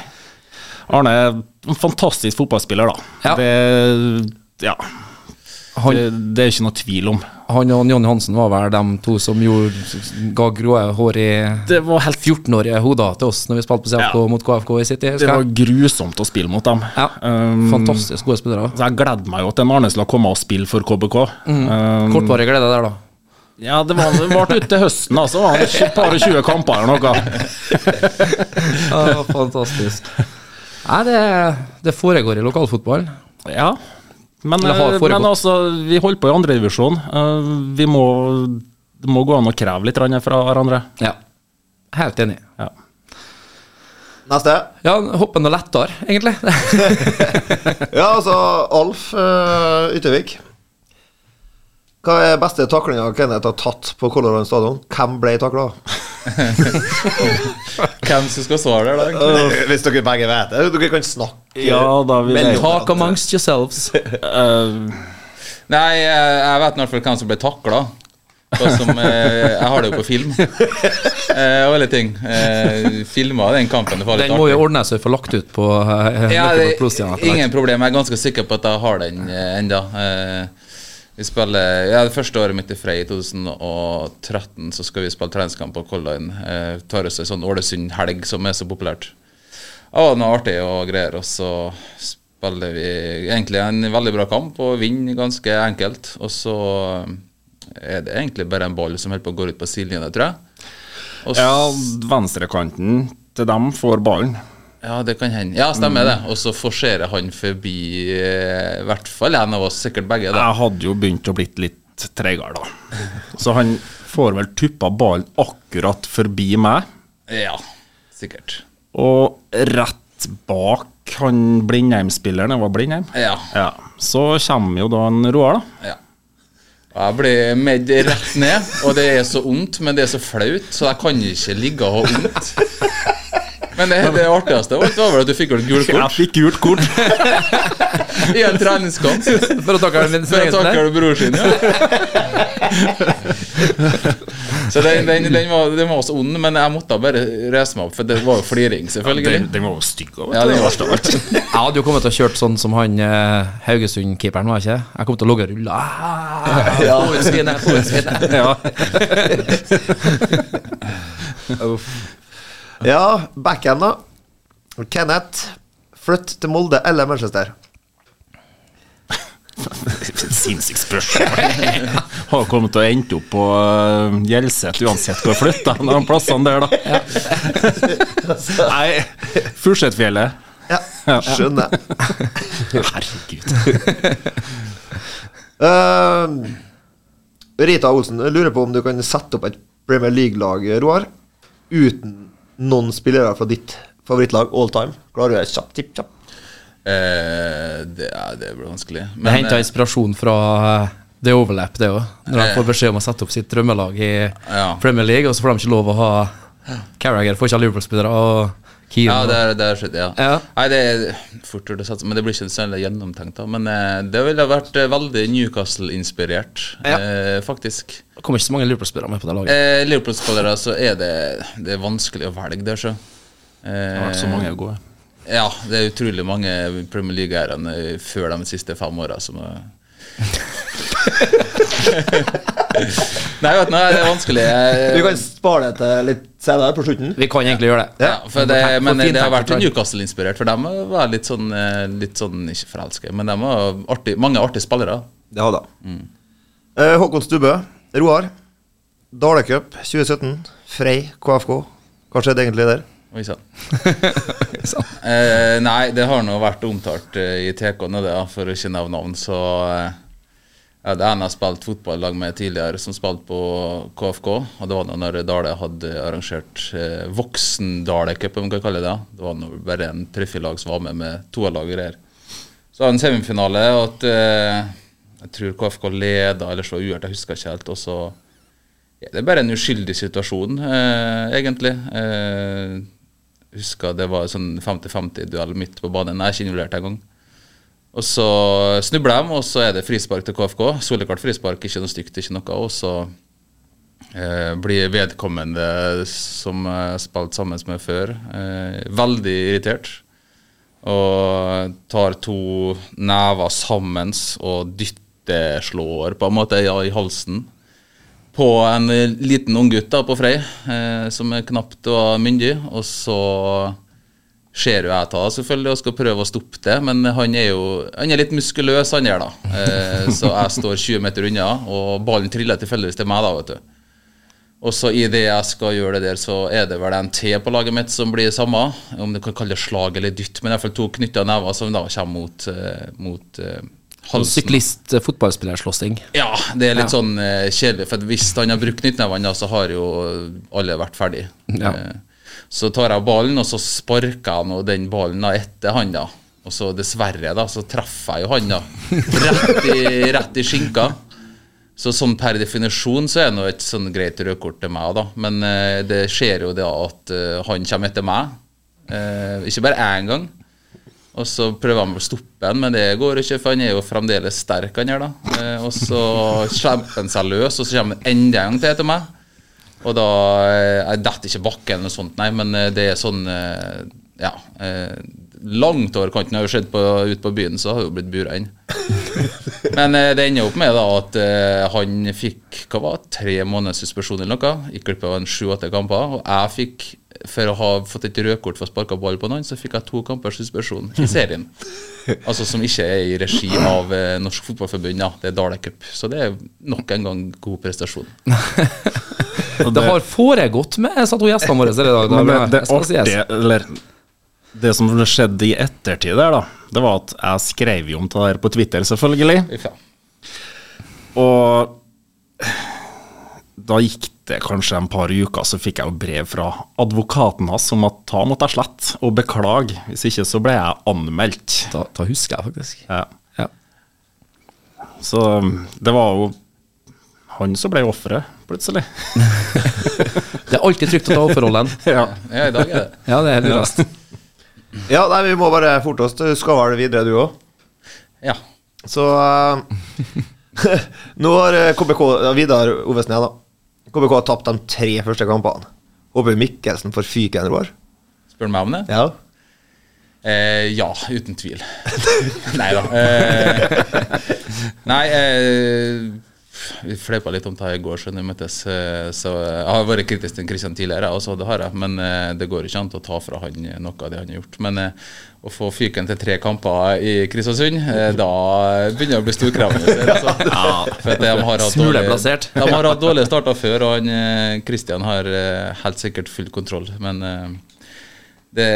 Arne er en fantastisk fotballspiller, da. Ja. Det, ja. Han- det, det er ikke noe tvil om. Han og Jonny Hansen var vel de to som gjorde, ga grå hår i Det var helt 14-årige hoder til oss når vi spilte på CFK Ja. mot KFK i City. Det husker var jeg. grusomt å spille mot dem. Ja, Um, Fantastisk gode spillere. Så jeg gleder meg jo til en Arne skulle komme og spille for KBK. Mm. Um, Kortvarig glede der, da. Ja, det var- det varte ut til høsten, altså. var det et Par og tjue kamper eller noe. Ja, fantastisk. Nei, det, det foregår i lokalfotball. Ja. Men, Det har eh, foregått. men altså, vi holder på i andredivisjon. Vi må, det må gå an å kreve litt grann fra hverandre. Ja. Helt enig. Ja. Neste. Ja, hoppe noe lettere, egentlig. Ja, altså Alf eh, Yttervik. Hva er beste taklinga Kenneth har tatt på Colorado stadion? Hvem ble takla? Hvem som skal svare der, da? Hvis dere begge vet det. Dere kan snakke. Ja, da vil jeg Talk amongst yourselves. Eh, Nei, jeg, jeg vet i hvert fall hvem som ble takla. jeg har det jo på film. Eh, og alle ting. Eh, Filma den kampen. Det var litt Den må artig. jo ordne seg for lagt ut på eh, Ja, det, Løkkeberg-Plostjerne etter hvert. ingen problem. Jeg er ganske sikker på at jeg har den eh, enda. Eh, vi spiller, ja, Det første året mitt i Frei, i 2013, så skal vi spille treningskamp på Color Line. Eh, tar oss en sånn Ålesund-helg som er så populært. Ja, det var artig og greier. Og så spiller vi egentlig en veldig bra kamp og vinner ganske enkelt. Og så eh, er det egentlig bare en ball som holder på å gå ut på sidelinja, tror jeg. Og Ja, venstrekanten til dem får ballen. Ja, det kan hende. Ja, stemmer det. Og så forserer han forbi eh, i hvert fall en av oss, sikkert begge. da. Jeg hadde jo begynt å blitt litt treigere, da. Så han får vel tuppa ballen akkurat forbi meg, Ja, sikkert. og rett bak han Blindheim-spilleren. Det var Blindheim? Ja. Ja, Så kommer jo da en Roar, da. ja. Og Jeg ble med rett ned, og det er så vondt, men det er så flaut, så jeg kan ikke ligge og ha vondt. Men det, det artigste var var vel at du fikk jo et gult Jeg kort fikk gult kort. i en treningskamp. For å takke den For jeg takker du bror sin, ja. Så den, den, den, var, den var også ond, men jeg måtte bare reise meg opp, for det var jo fliring, selvfølgelig. Den, den var jo stygg. også, Ja, vet du. den var verste av alt. Jeg hadde jo kommet til å kjørt sånn som han eh, Haugesund-keeperen, var jeg ikke? Jeg kom til å ligge og rulle. Ah, få ut svinet, få ut svinet. Ja, backhand, da. Kenneth, flytt til Molde eller Manchester. Sinnssykt spørsmål. Har kommet til å ende opp på øh, Hjelset uansett hvor jeg flytter. De plassene der, da. Nei, Fursetfjellet. Ja, skjønner. Herregud. Eh, Rita Olsen, jeg lurer på om du kan sette opp et Premier League-lag, Roar, uten noen spillere fra ditt favorittlag all time. Klarer du det kjapt? Tipp, kjapt. Eh, det, ja, det blir vanskelig. Det Men, henta eh, inspirasjon fra eh, The Overlap, det òg. Når de får beskjed om å sette opp sitt drømmelag i Ja. Premier League, og så får de ikke lov å ha Carriager, får ikke ha Liverpool-spillere, og Keane eh, ja, og- det er, det er skjedd, ja. Ja. Nei, det er fort gjort å satse, men det blir ikke så veldig gjennomtenkt. da Men eh, det ville vært eh, veldig Newcastle-inspirert, Ja. eh, faktisk. Det kommer ikke så mange Liverpool-spillere med på det laget. Eh, Liverpool-spillere, så er det, det er vanskelig å velge der, så. Eh, Det har vært så mange gode. Ja, det er utrolig mange Premier League-eierne før de siste fem åra som er Nei, vet du, nei, det er vanskelig. Vi Jeg, kan spare det til litt senere på slutten. Vi kan egentlig gjøre det. Ja, for det, Fortell- men fortell det har vært taktikk. Newcastle-inspirert, for de var litt sånn, eh, litt sånn ikke forelska, men de var artig, mange artige spillere. Ja da. Eh, Håkon Stubbe, Roar. Dalecup 2017. Frei KFK. Hva skjedde egentlig der? Oi sann. eh, nei, det har nå vært omtalt eh, i TK-ene, det, ja, for å ikke nevne navn, så eh, ja, Det ene jeg spilte fotballag med tidligere, som spilte på KFK, og det var da når Dale hadde arrangert eh, Voksen-Dale-cup, om vi kan kalle det det. Det var nå bare en tre-fire lag som var med med toerlag og greier. Så hadde en semifinale, og at eh, jeg tror KFK leda, eller så var det uavgjort, jeg husker ikke helt. Og så ja, Det er bare en uskyldig situasjon, eh, egentlig. Eh, husker det var sånn 50-50-duell midt på banen. Jeg er ikke involvert engang. Og så snubler de, og så er det frispark til KFK. Soleklart frispark, ikke noe stygt, ikke noe. Og så eh, blir vedkommende som jeg spilte sammen med før, eh, veldig irritert. Og tar to never sammen og dytteslår på en måte ja, i halsen på en eh, liten unggutt på Frei, eh, som knapt var myndig. Og så ser jo jeg ta selvfølgelig og skal prøve å stoppe det, men han er jo han er litt muskuløs, han her, da. Eh, så jeg står 20 meter unna, og ballen triller tilfeldigvis til meg, da, vet du. Og så i det jeg skal gjøre det der, så er det vel en T på laget mitt som blir samme, om du kan kalle det slag eller dytt, men i hvert fall to knytta never som da kommer mot, eh, mot eh, halsen. Syklist-fotballspillerslåssing. Ja, det er litt Ja. sånn eh, kjedelig. For at hvis han har brukt knyttnevene, da, så har jo alle vært ferdig. Ja. Eh, så tar jeg ballen, og så sparker jeg nå den ballen da etter han, da. Og så dessverre, da, så treffer jeg jo han, da. Rett i, rett i skinka. Så sånn per definisjon så er det nå et sånn greit rødkort til meg, da. Men eh, det skjer jo det at eh, han kommer etter meg. Eh, ikke bare én gang. Og så prøver han å stoppe han, men det går ikke, for han er jo fremdeles sterk, han her, da. Eh, og så slipper han seg løs, og så kommer han enda en gang til etter meg. Og da eh, Jeg detter ikke bakken eller noe sånt, nei, men eh, det er sånn eh, Ja. Eh, langt over kanten. Har jo skjedd på, ute på byen, så har jo blitt bura inn. Men eh, det ender jo opp med da at eh, han fikk hva var det, tre måneders suspensjon eller noe. Gikk glipp av en sju-åtte kamper. Og jeg fikk, for å ha fått et rødkort for å sparke ball på noen, så fikk jeg to kampers suspensjon i serien. altså som ikke er i regi av eh, Norsk Fotballforbund, ja. Det er Dale Cup. Så det er nok en gang god prestasjon. Det har foregått med Jeg satt hos gjestene våre her i dag. da, Men det, men det jeg skal si artige, eller det som skjedde i ettertid der, da, det var at jeg skrev jo om det der på Twitter, selvfølgelig. Uff, ja. Og da gikk det kanskje en par uker, så fikk jeg jo brev fra advokaten hans om at ta måtte jeg slette og beklage, hvis ikke så ble jeg anmeldt. Da, da husker jeg faktisk. Ja. Ja. Så det var jo han som ble offeret, plutselig. Det er alltid trygt å ta offerrollen. Ja. ja, i dag er det. Ja, det er helt urast. Ja, nei, vi må bare forte oss. Du skal vel videre, du òg. Ja. Så eh, Nå har eh, KBK ja, Vidar Ovesen igjen, da. KBK har tapt de tre første kampene. Håper Mikkelsen får fyken i år. Spør du meg om det? Ja. Eh, ja, uten tvil. nei da. Eh, nei, eh, vi fleipa litt om det her i går, skjønner du, møttes. eh, Så eh, jeg har vært kritisk til Kristian tidligere, jeg også, det har jeg. Men eh, det går ikke an til å ta fra han eh, noe av det han har gjort. Men eh, å få fyken til tre kamper i Kristiansund, eh, da begynner det å bli storkrevende. Altså. For at de har hatt Smule dårlig- plassert. De har hatt dårlige starter før, og han, eh, Kristian har eh, helt sikkert full kontroll. Men eh, det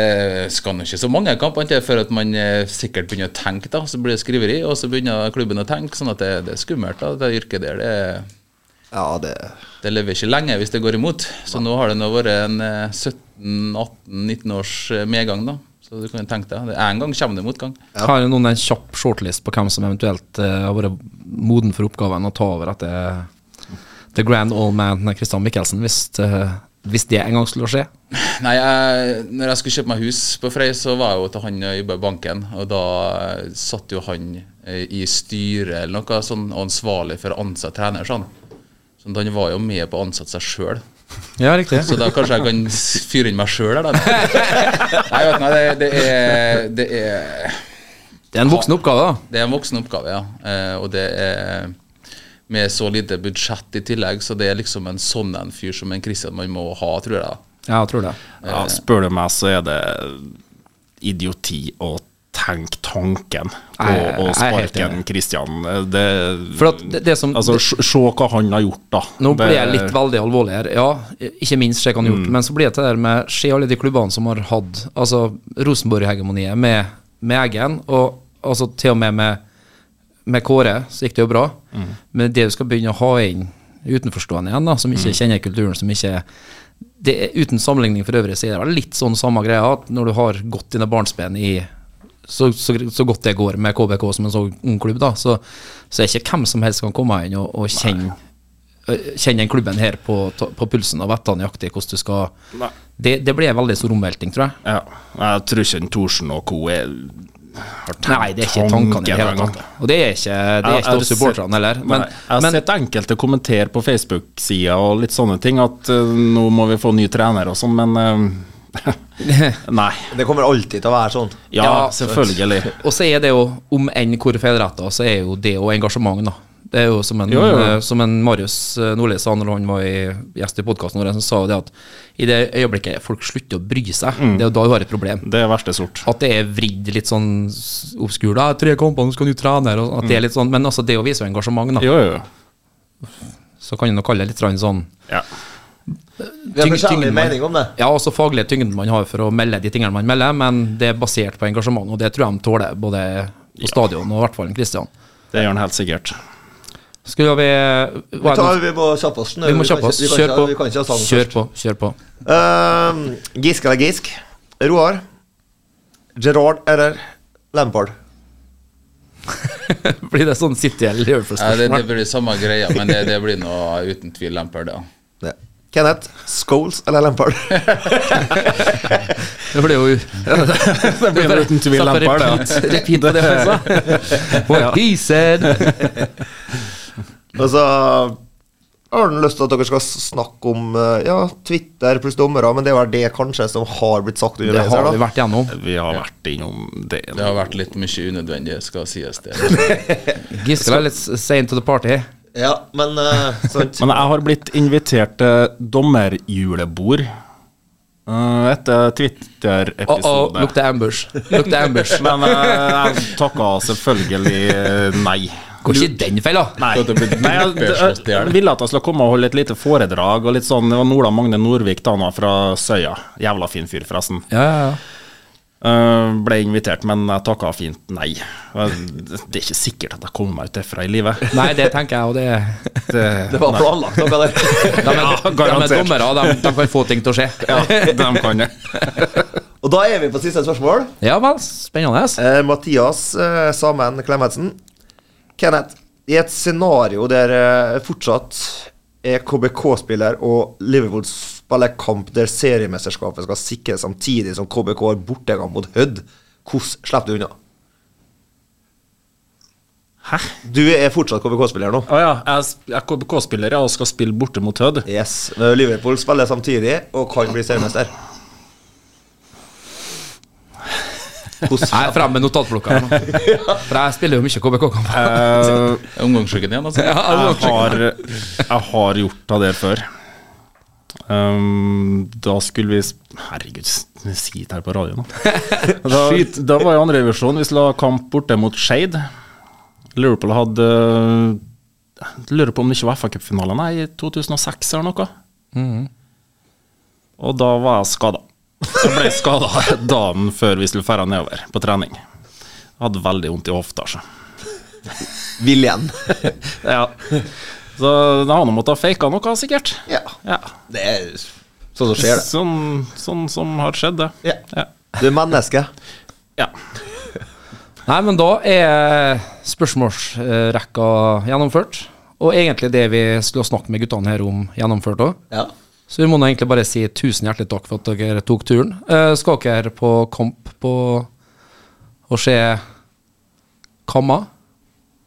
skal nå ikke så mange kamper til før at man eh, sikkert begynner å tenke, da. Så blir det skriveri, og så begynner klubben å tenke. Sånn at det, det er skummelt. da, Det yrket der, det, ja, det det lever ikke lenge hvis det går imot. Så nå har det nå vært en eh, 17-18-19 års eh, medgang, da. Så du kan jo tenke deg. det. En gang kommer det motgang. Har noen en kjapp shortlist på hvem som eventuelt eh, har vært moden for oppgaven å ta over etter The Grand Old Man Christian Michelsen, hvis, eh, hvis det en gang skulle skje? Nei, jeg, når jeg skulle kjøpe meg hus på Frei, så var jeg jo til han og jobba i banken. Og da eh, satt jo han eh, i styret eller noe sånn og ansvarlig for å ansette trener. Sånn. Så han var jo med på å ansette seg sjøl. Ja, riktig. Så da kanskje jeg kan s- fyre inn meg sjøl her, da. Nei, vet du, nei, det, det, er, det er Det er en voksen oppgave, da. Det er en voksen oppgave, ja. Eh, og det er med så lite budsjett i tillegg, så det er liksom en sånn en fyr som en Christian man må ha, tror jeg. da. Ja, jeg tror det. Ja, spør du meg, så er det idioti å tenke tanken på Jeg- å jeg er helt sparke enig. en Kristian. Det, For at det, det som altså, se se hva han har gjort, da. Nå Det- blir jeg litt veldig alvorlig her. Ja, ikke minst se hva han har gjort, men så blir det det der med se alle de klubbene som har hatt altså Rosenborg-hegemoniet med, med egen, og altså til og med med, med Kåre, så gikk det jo bra. Men det du skal begynne å ha inn utenforstående igjen, da, som ikke kjenner kulturen, som ikke det er, Uten sammenligning for øvrig, så er det vel litt sånn samme greia at når du har gått dine barnsben i så, så, så godt det går sånn med KBK som en så ung klubb, da, så, så er ikke hvem som helst kan komme inn og, og kjenne eh, kjenner den klubben her på, ta- på pulsen og vet da nøyaktig hvordan du skal det, det blir en veldig stor omvelting, tror jeg. Ja. Jeg tror ikke en Thorsen og co. er Nei, det er ikke tankene i det hele tatt. Og det er ikke, det er Jeg- jeg ikke har oss supporterne sett- heller. Men, Nei, jeg har men sett enkelte kommentere på Facebook-sida og litt sånne ting, at eh, nå må vi få ny trener og sånn, men eh, Nei. Det kommer alltid til å være sånn. Ja, Ja, selvfølgelig. Og så er det jo, om enn hvor feilretta, så er jo det jo engasjement, da. Det er jo som en, Jo, jo. eh, Som en Marius eh, Nordli sa når han var i, gjest i podkasten vår, som sa jo det at i det øyeblikket folk slutter å bry seg, det er jo da du har et problem. Det er verste sort. At det er vridd litt sånn s- oppskur, da, tre kamper, nå skal du trene, og at det er litt sånn, men altså det å vise jo engasjement, da, Jo, jo, jo. så kan du nå kalle det litt sånn Ja. Vi har Tyng- forskjellig tyngden man- mening om det. Ja, også faglige tyngden man har for å melde de tingene man melder, men det er basert på engasjement, og det tror jeg de tåler, både på stadion og i hvert fall Kristian. Det gjør han helt sikkert. Skal vi hva Vi, er det? tar, vi må kjappe oss. nå. Vi må kan kjappe oss. ikke- vi kan Kjør ikke- på. Vi kan ikke ha sangen Kjør på. Kjør på. Ehm, Giske eller Gisk? Roar? Gerard eller Lampard? Blir det sånn City eller Nei, Eh, det, det Liverpool-spørsmål? blir samme greia, men det, det blir noe uten tvil Lampard, ja. Ja. Kenneth? Scholes eller Lampard? Det blir jo Det blir vel uten tvil Satt på Lampard, ja. repeat- Repeat på det han sa. What he said. Og så har han lyst til at dere skal s- snakke om eh, ja, Twitter pluss dommere, men det var det kanskje som har blitt sagt Det underveis. har her vi da. vært gjennom. Vi har vært innom det. Det har vært litt mye unødvendig, skal sies det. Gisle er litt sein to the party. Ja, men eh, sant. Men jeg har blitt invitert til dommerjulebord eh, etter Oh, oh, Twitter-episode. lukter ambush. Lukter ambush. Men eh, jeg takka selvfølgelig eh, nei. Går ikke den feil, da? Nei. Så det blir Nei, jeg, slått i jeg, hjel. ville at jeg skulle komme og holde et lite foredrag. Og litt sånn, Det var Nola Magne Norvik da, han var fra Søya. Jævla fin fyr, forresten. Ja, ja, ja. Eh, ble invitert, men jeg takka fint nei. Eh, Det er ikke sikkert at jeg kommer meg ut derfra i livet. Nei, det tenker jeg, og det Det, Det var planlagt noe der. De er, de er garantert. dommere, de, de kan få ting til å skje. ja, de kan det. Og da er vi på siste spørsmål. Ja vel, spennende. Eh, Mathias eh, Samen Klemetsen. Kenneth, i et scenario der eh, fortsatt er KBK-spiller og Liverpool spiller kamp der seriemesterskapet skal sikres samtidig som KBK har bortekamp mot Hødd, hvordan slipper du unna? Hæ? Du er fortsatt KBK-spiller nå. Å ja, jeg sp- jeg er KBK-spiller og skal spille borte mot Hødd. Yes, eh, Liverpool spiller samtidig og kan bli seriemester. Jeg er fremme med notatblokka. her nå. For jeg spiller jo mye KBK-kamper. Eh, Omgangssyken igjen, altså. eh, jeg, har, jeg har gjort det der før. Um, da skulle vi sp- Herregud, s- si det her på radioen, da. da. Da var jeg i andre divisjon. Vi skulle ha kamp borte mot Skeid. Liverpool hadde jeg Lurer på om det ikke var FA-cupfinale, nei, i 2006 eller noe. Og da var jeg skada. Jeg ble skada dagen før vi skulle dra nedover på trening. Jeg hadde veldig vondt i hofta. altså. Så. Viljen. Ja. Så det har nå måttet fake noe, sikkert. Ja, Ja. det er sånn som skjer, det. Sånn, sånn som har skjedd, det. Ja. Ja. Du er menneske. Ja. Nei, men da er spørsmålsrekka gjennomført. Og egentlig det vi skulle snakke med guttene her om, gjennomført òg. Ja. Så vi må nå egentlig bare si tusen hjertelig takk for at dere tok turen. Eh, skal dere på kamp på og se Kamma?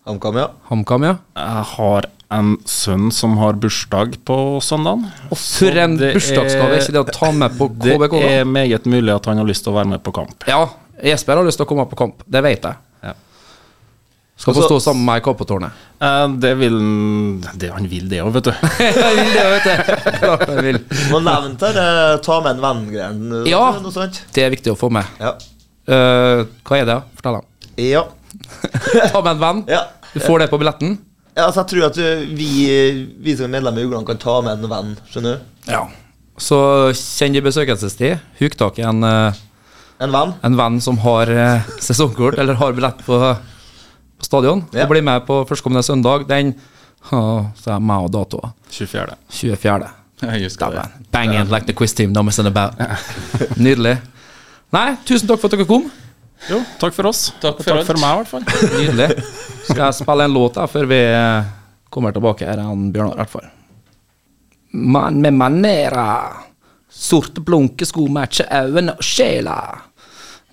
HamKam, ja. HamKam, ja. Jeg har en sønn som har bursdag på søndagen. Og for en det er- bursdagsgave! Er ikke det å ta med på Det KBK? da? er meget mulig at han har lyst til å være med på kamp. Ja, Jesper har lyst til å komme på kamp. Det vet jeg. Ja. Skal få stå sammen med meg i Kappetårnet. Eh, Det vil han det, Han vil det òg, vet du. Jeg vil det, vet jeg. Klart jeg vil. Må nevne det. eh, Ta med en venn-greien. eh, Ja. Noe sånt. Det er viktig å få med. Ja. Eh, hva er det? Fortell dem. Ja. Ta med en venn. Ja. Du får det på billetten. ja altså, jeg tror at ø, vi, eh, vi som er medlemmer i Ugland, kan ta med en venn. Skjønner du? Ja. Så kjenn din besøkelsestid. Huk tak i en, eh, En venn. en venn som har eh, sesongkort eller har billett på, på stadion, Ja. og bli med på førstkommende søndag. Den Åh, Så er jeg meg og datoer. 24. 24. Jeg husker det. Dæven. Bang it like the quiz team knows about. Nydelig. Nei, tusen takk for at dere kom. Jo, takk for oss. Takk for Og alt. takk for meg, i hvert fall. Nydelig. Skal jeg spille en låt da, før vi eh, kommer tilbake her, han Bjørnar i hvert fall. Mann med manerer. Sorte blunkesko matcher øynene og sjela.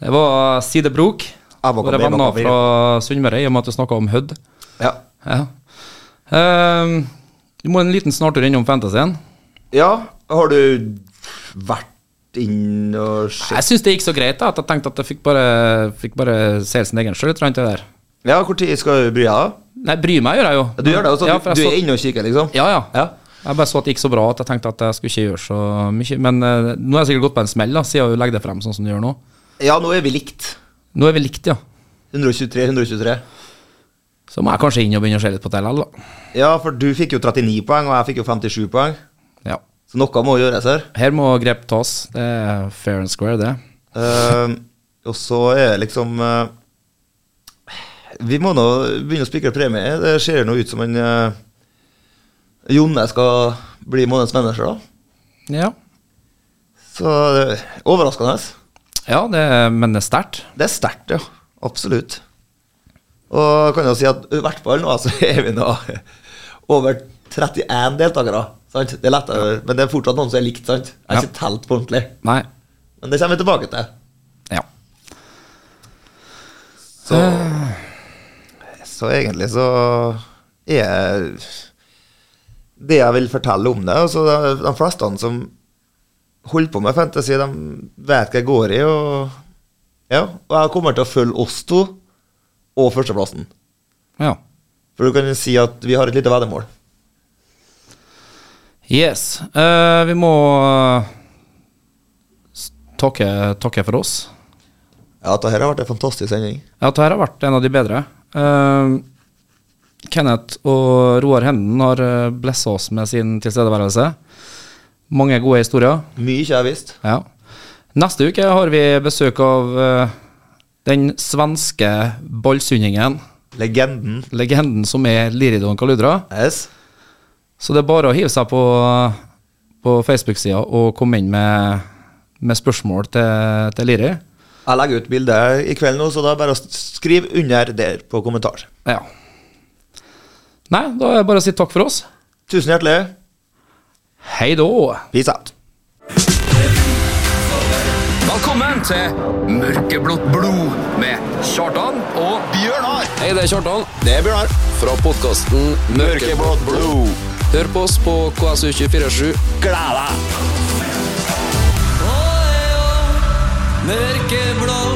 Det var Side Brok. Avokado, Våre venner avokado. fra Sunnmøre, i og med at du snakka om Hødd. Ja. Ja. Ehm, vi må en liten snartur innom fantasyen. ja. Har du vært inn og Jeg sett syns det gikk så greit da, at jeg tenkte at jeg fikk bare, fikk bare se sin egen sjøl. Nei, Ja, når skal du bry deg? da? bry meg gjør jeg jo. Ja, Du gjør det, også, Ja, du, for jeg du så- er inne og kikker, liksom? Ja, ja. Ja. Jeg bare så at det gikk så bra at jeg tenkte at jeg skulle ikke gjøre så mye. Men eh, nå har jeg sikkert gått på en smell, da, siden hun legger det frem sånn som du gjør nå. Ja, nå er vi likt. Nå er vi likt, ja. 123, 123. Så må jeg kanskje inn og begynne å se litt på det likevel, da. Ja, for du fikk jo 39 poeng, og jeg fikk jo 57 poeng. Ja. Så noe må gjøres her. Her må grep tas. Det er fair and square, det. Eh, og så er det liksom eh, Vi må nå begynne å spikre premie. Det ser nå ut som en eh, Jonne skal bli månedens manager, da. Ja, Så det er overraskende. ja det er, men det er sterkt. Det er sterkt, ja. Absolutt. Og kan jo si at i hvert fall nå så er vi nå over 31 deltakere. Sant? Det er lettere, men det er fortsatt noen som er likt, sant? Jeg har Ja. ikke telt på ordentlig. Nei. Men det kommer vi tilbake til. Ja. Så, så egentlig så er det jeg vil fortelle om det altså de, de fleste som holder på med fantasy, de vet hva jeg går i. Og, ja, og jeg kommer til å følge oss to og førsteplassen. Ja. For du kan jo si at vi har et lite veddemål. Yes. Eh, vi må eh, s- takke, takke for oss. Ja, dette her har vært en fantastisk sending. Ja, dette her har vært en av de bedre. Eh, Kenneth og Roar Henden har eh, blessa oss med sin tilstedeværelse. Mange gode historier. Mye ikke jeg har visst. Ja. Neste uke har vi besøk av eh, den svenske ballsundingen. Legenden. Legenden som er Liridon Kaludra. Yes. Så det er bare å hive seg på, eh, på Facebook-sida og komme inn med, med spørsmål til, til Liri. Jeg legger ut bilde i kveld nå, så da er det bare å skrive under der på kommentar. Ja. Nei, da er det bare å si takk for oss. Tusen hjertelig. Hei då! Peace out. Velkommen til Mørkeblått blod med Kjartan og Bjørnar. Hei, det er Kjartan Det er Bjørnar. fra podkasten Mørkeblått blod. Hør på oss på KSU247. Gled deg! Mørkeblå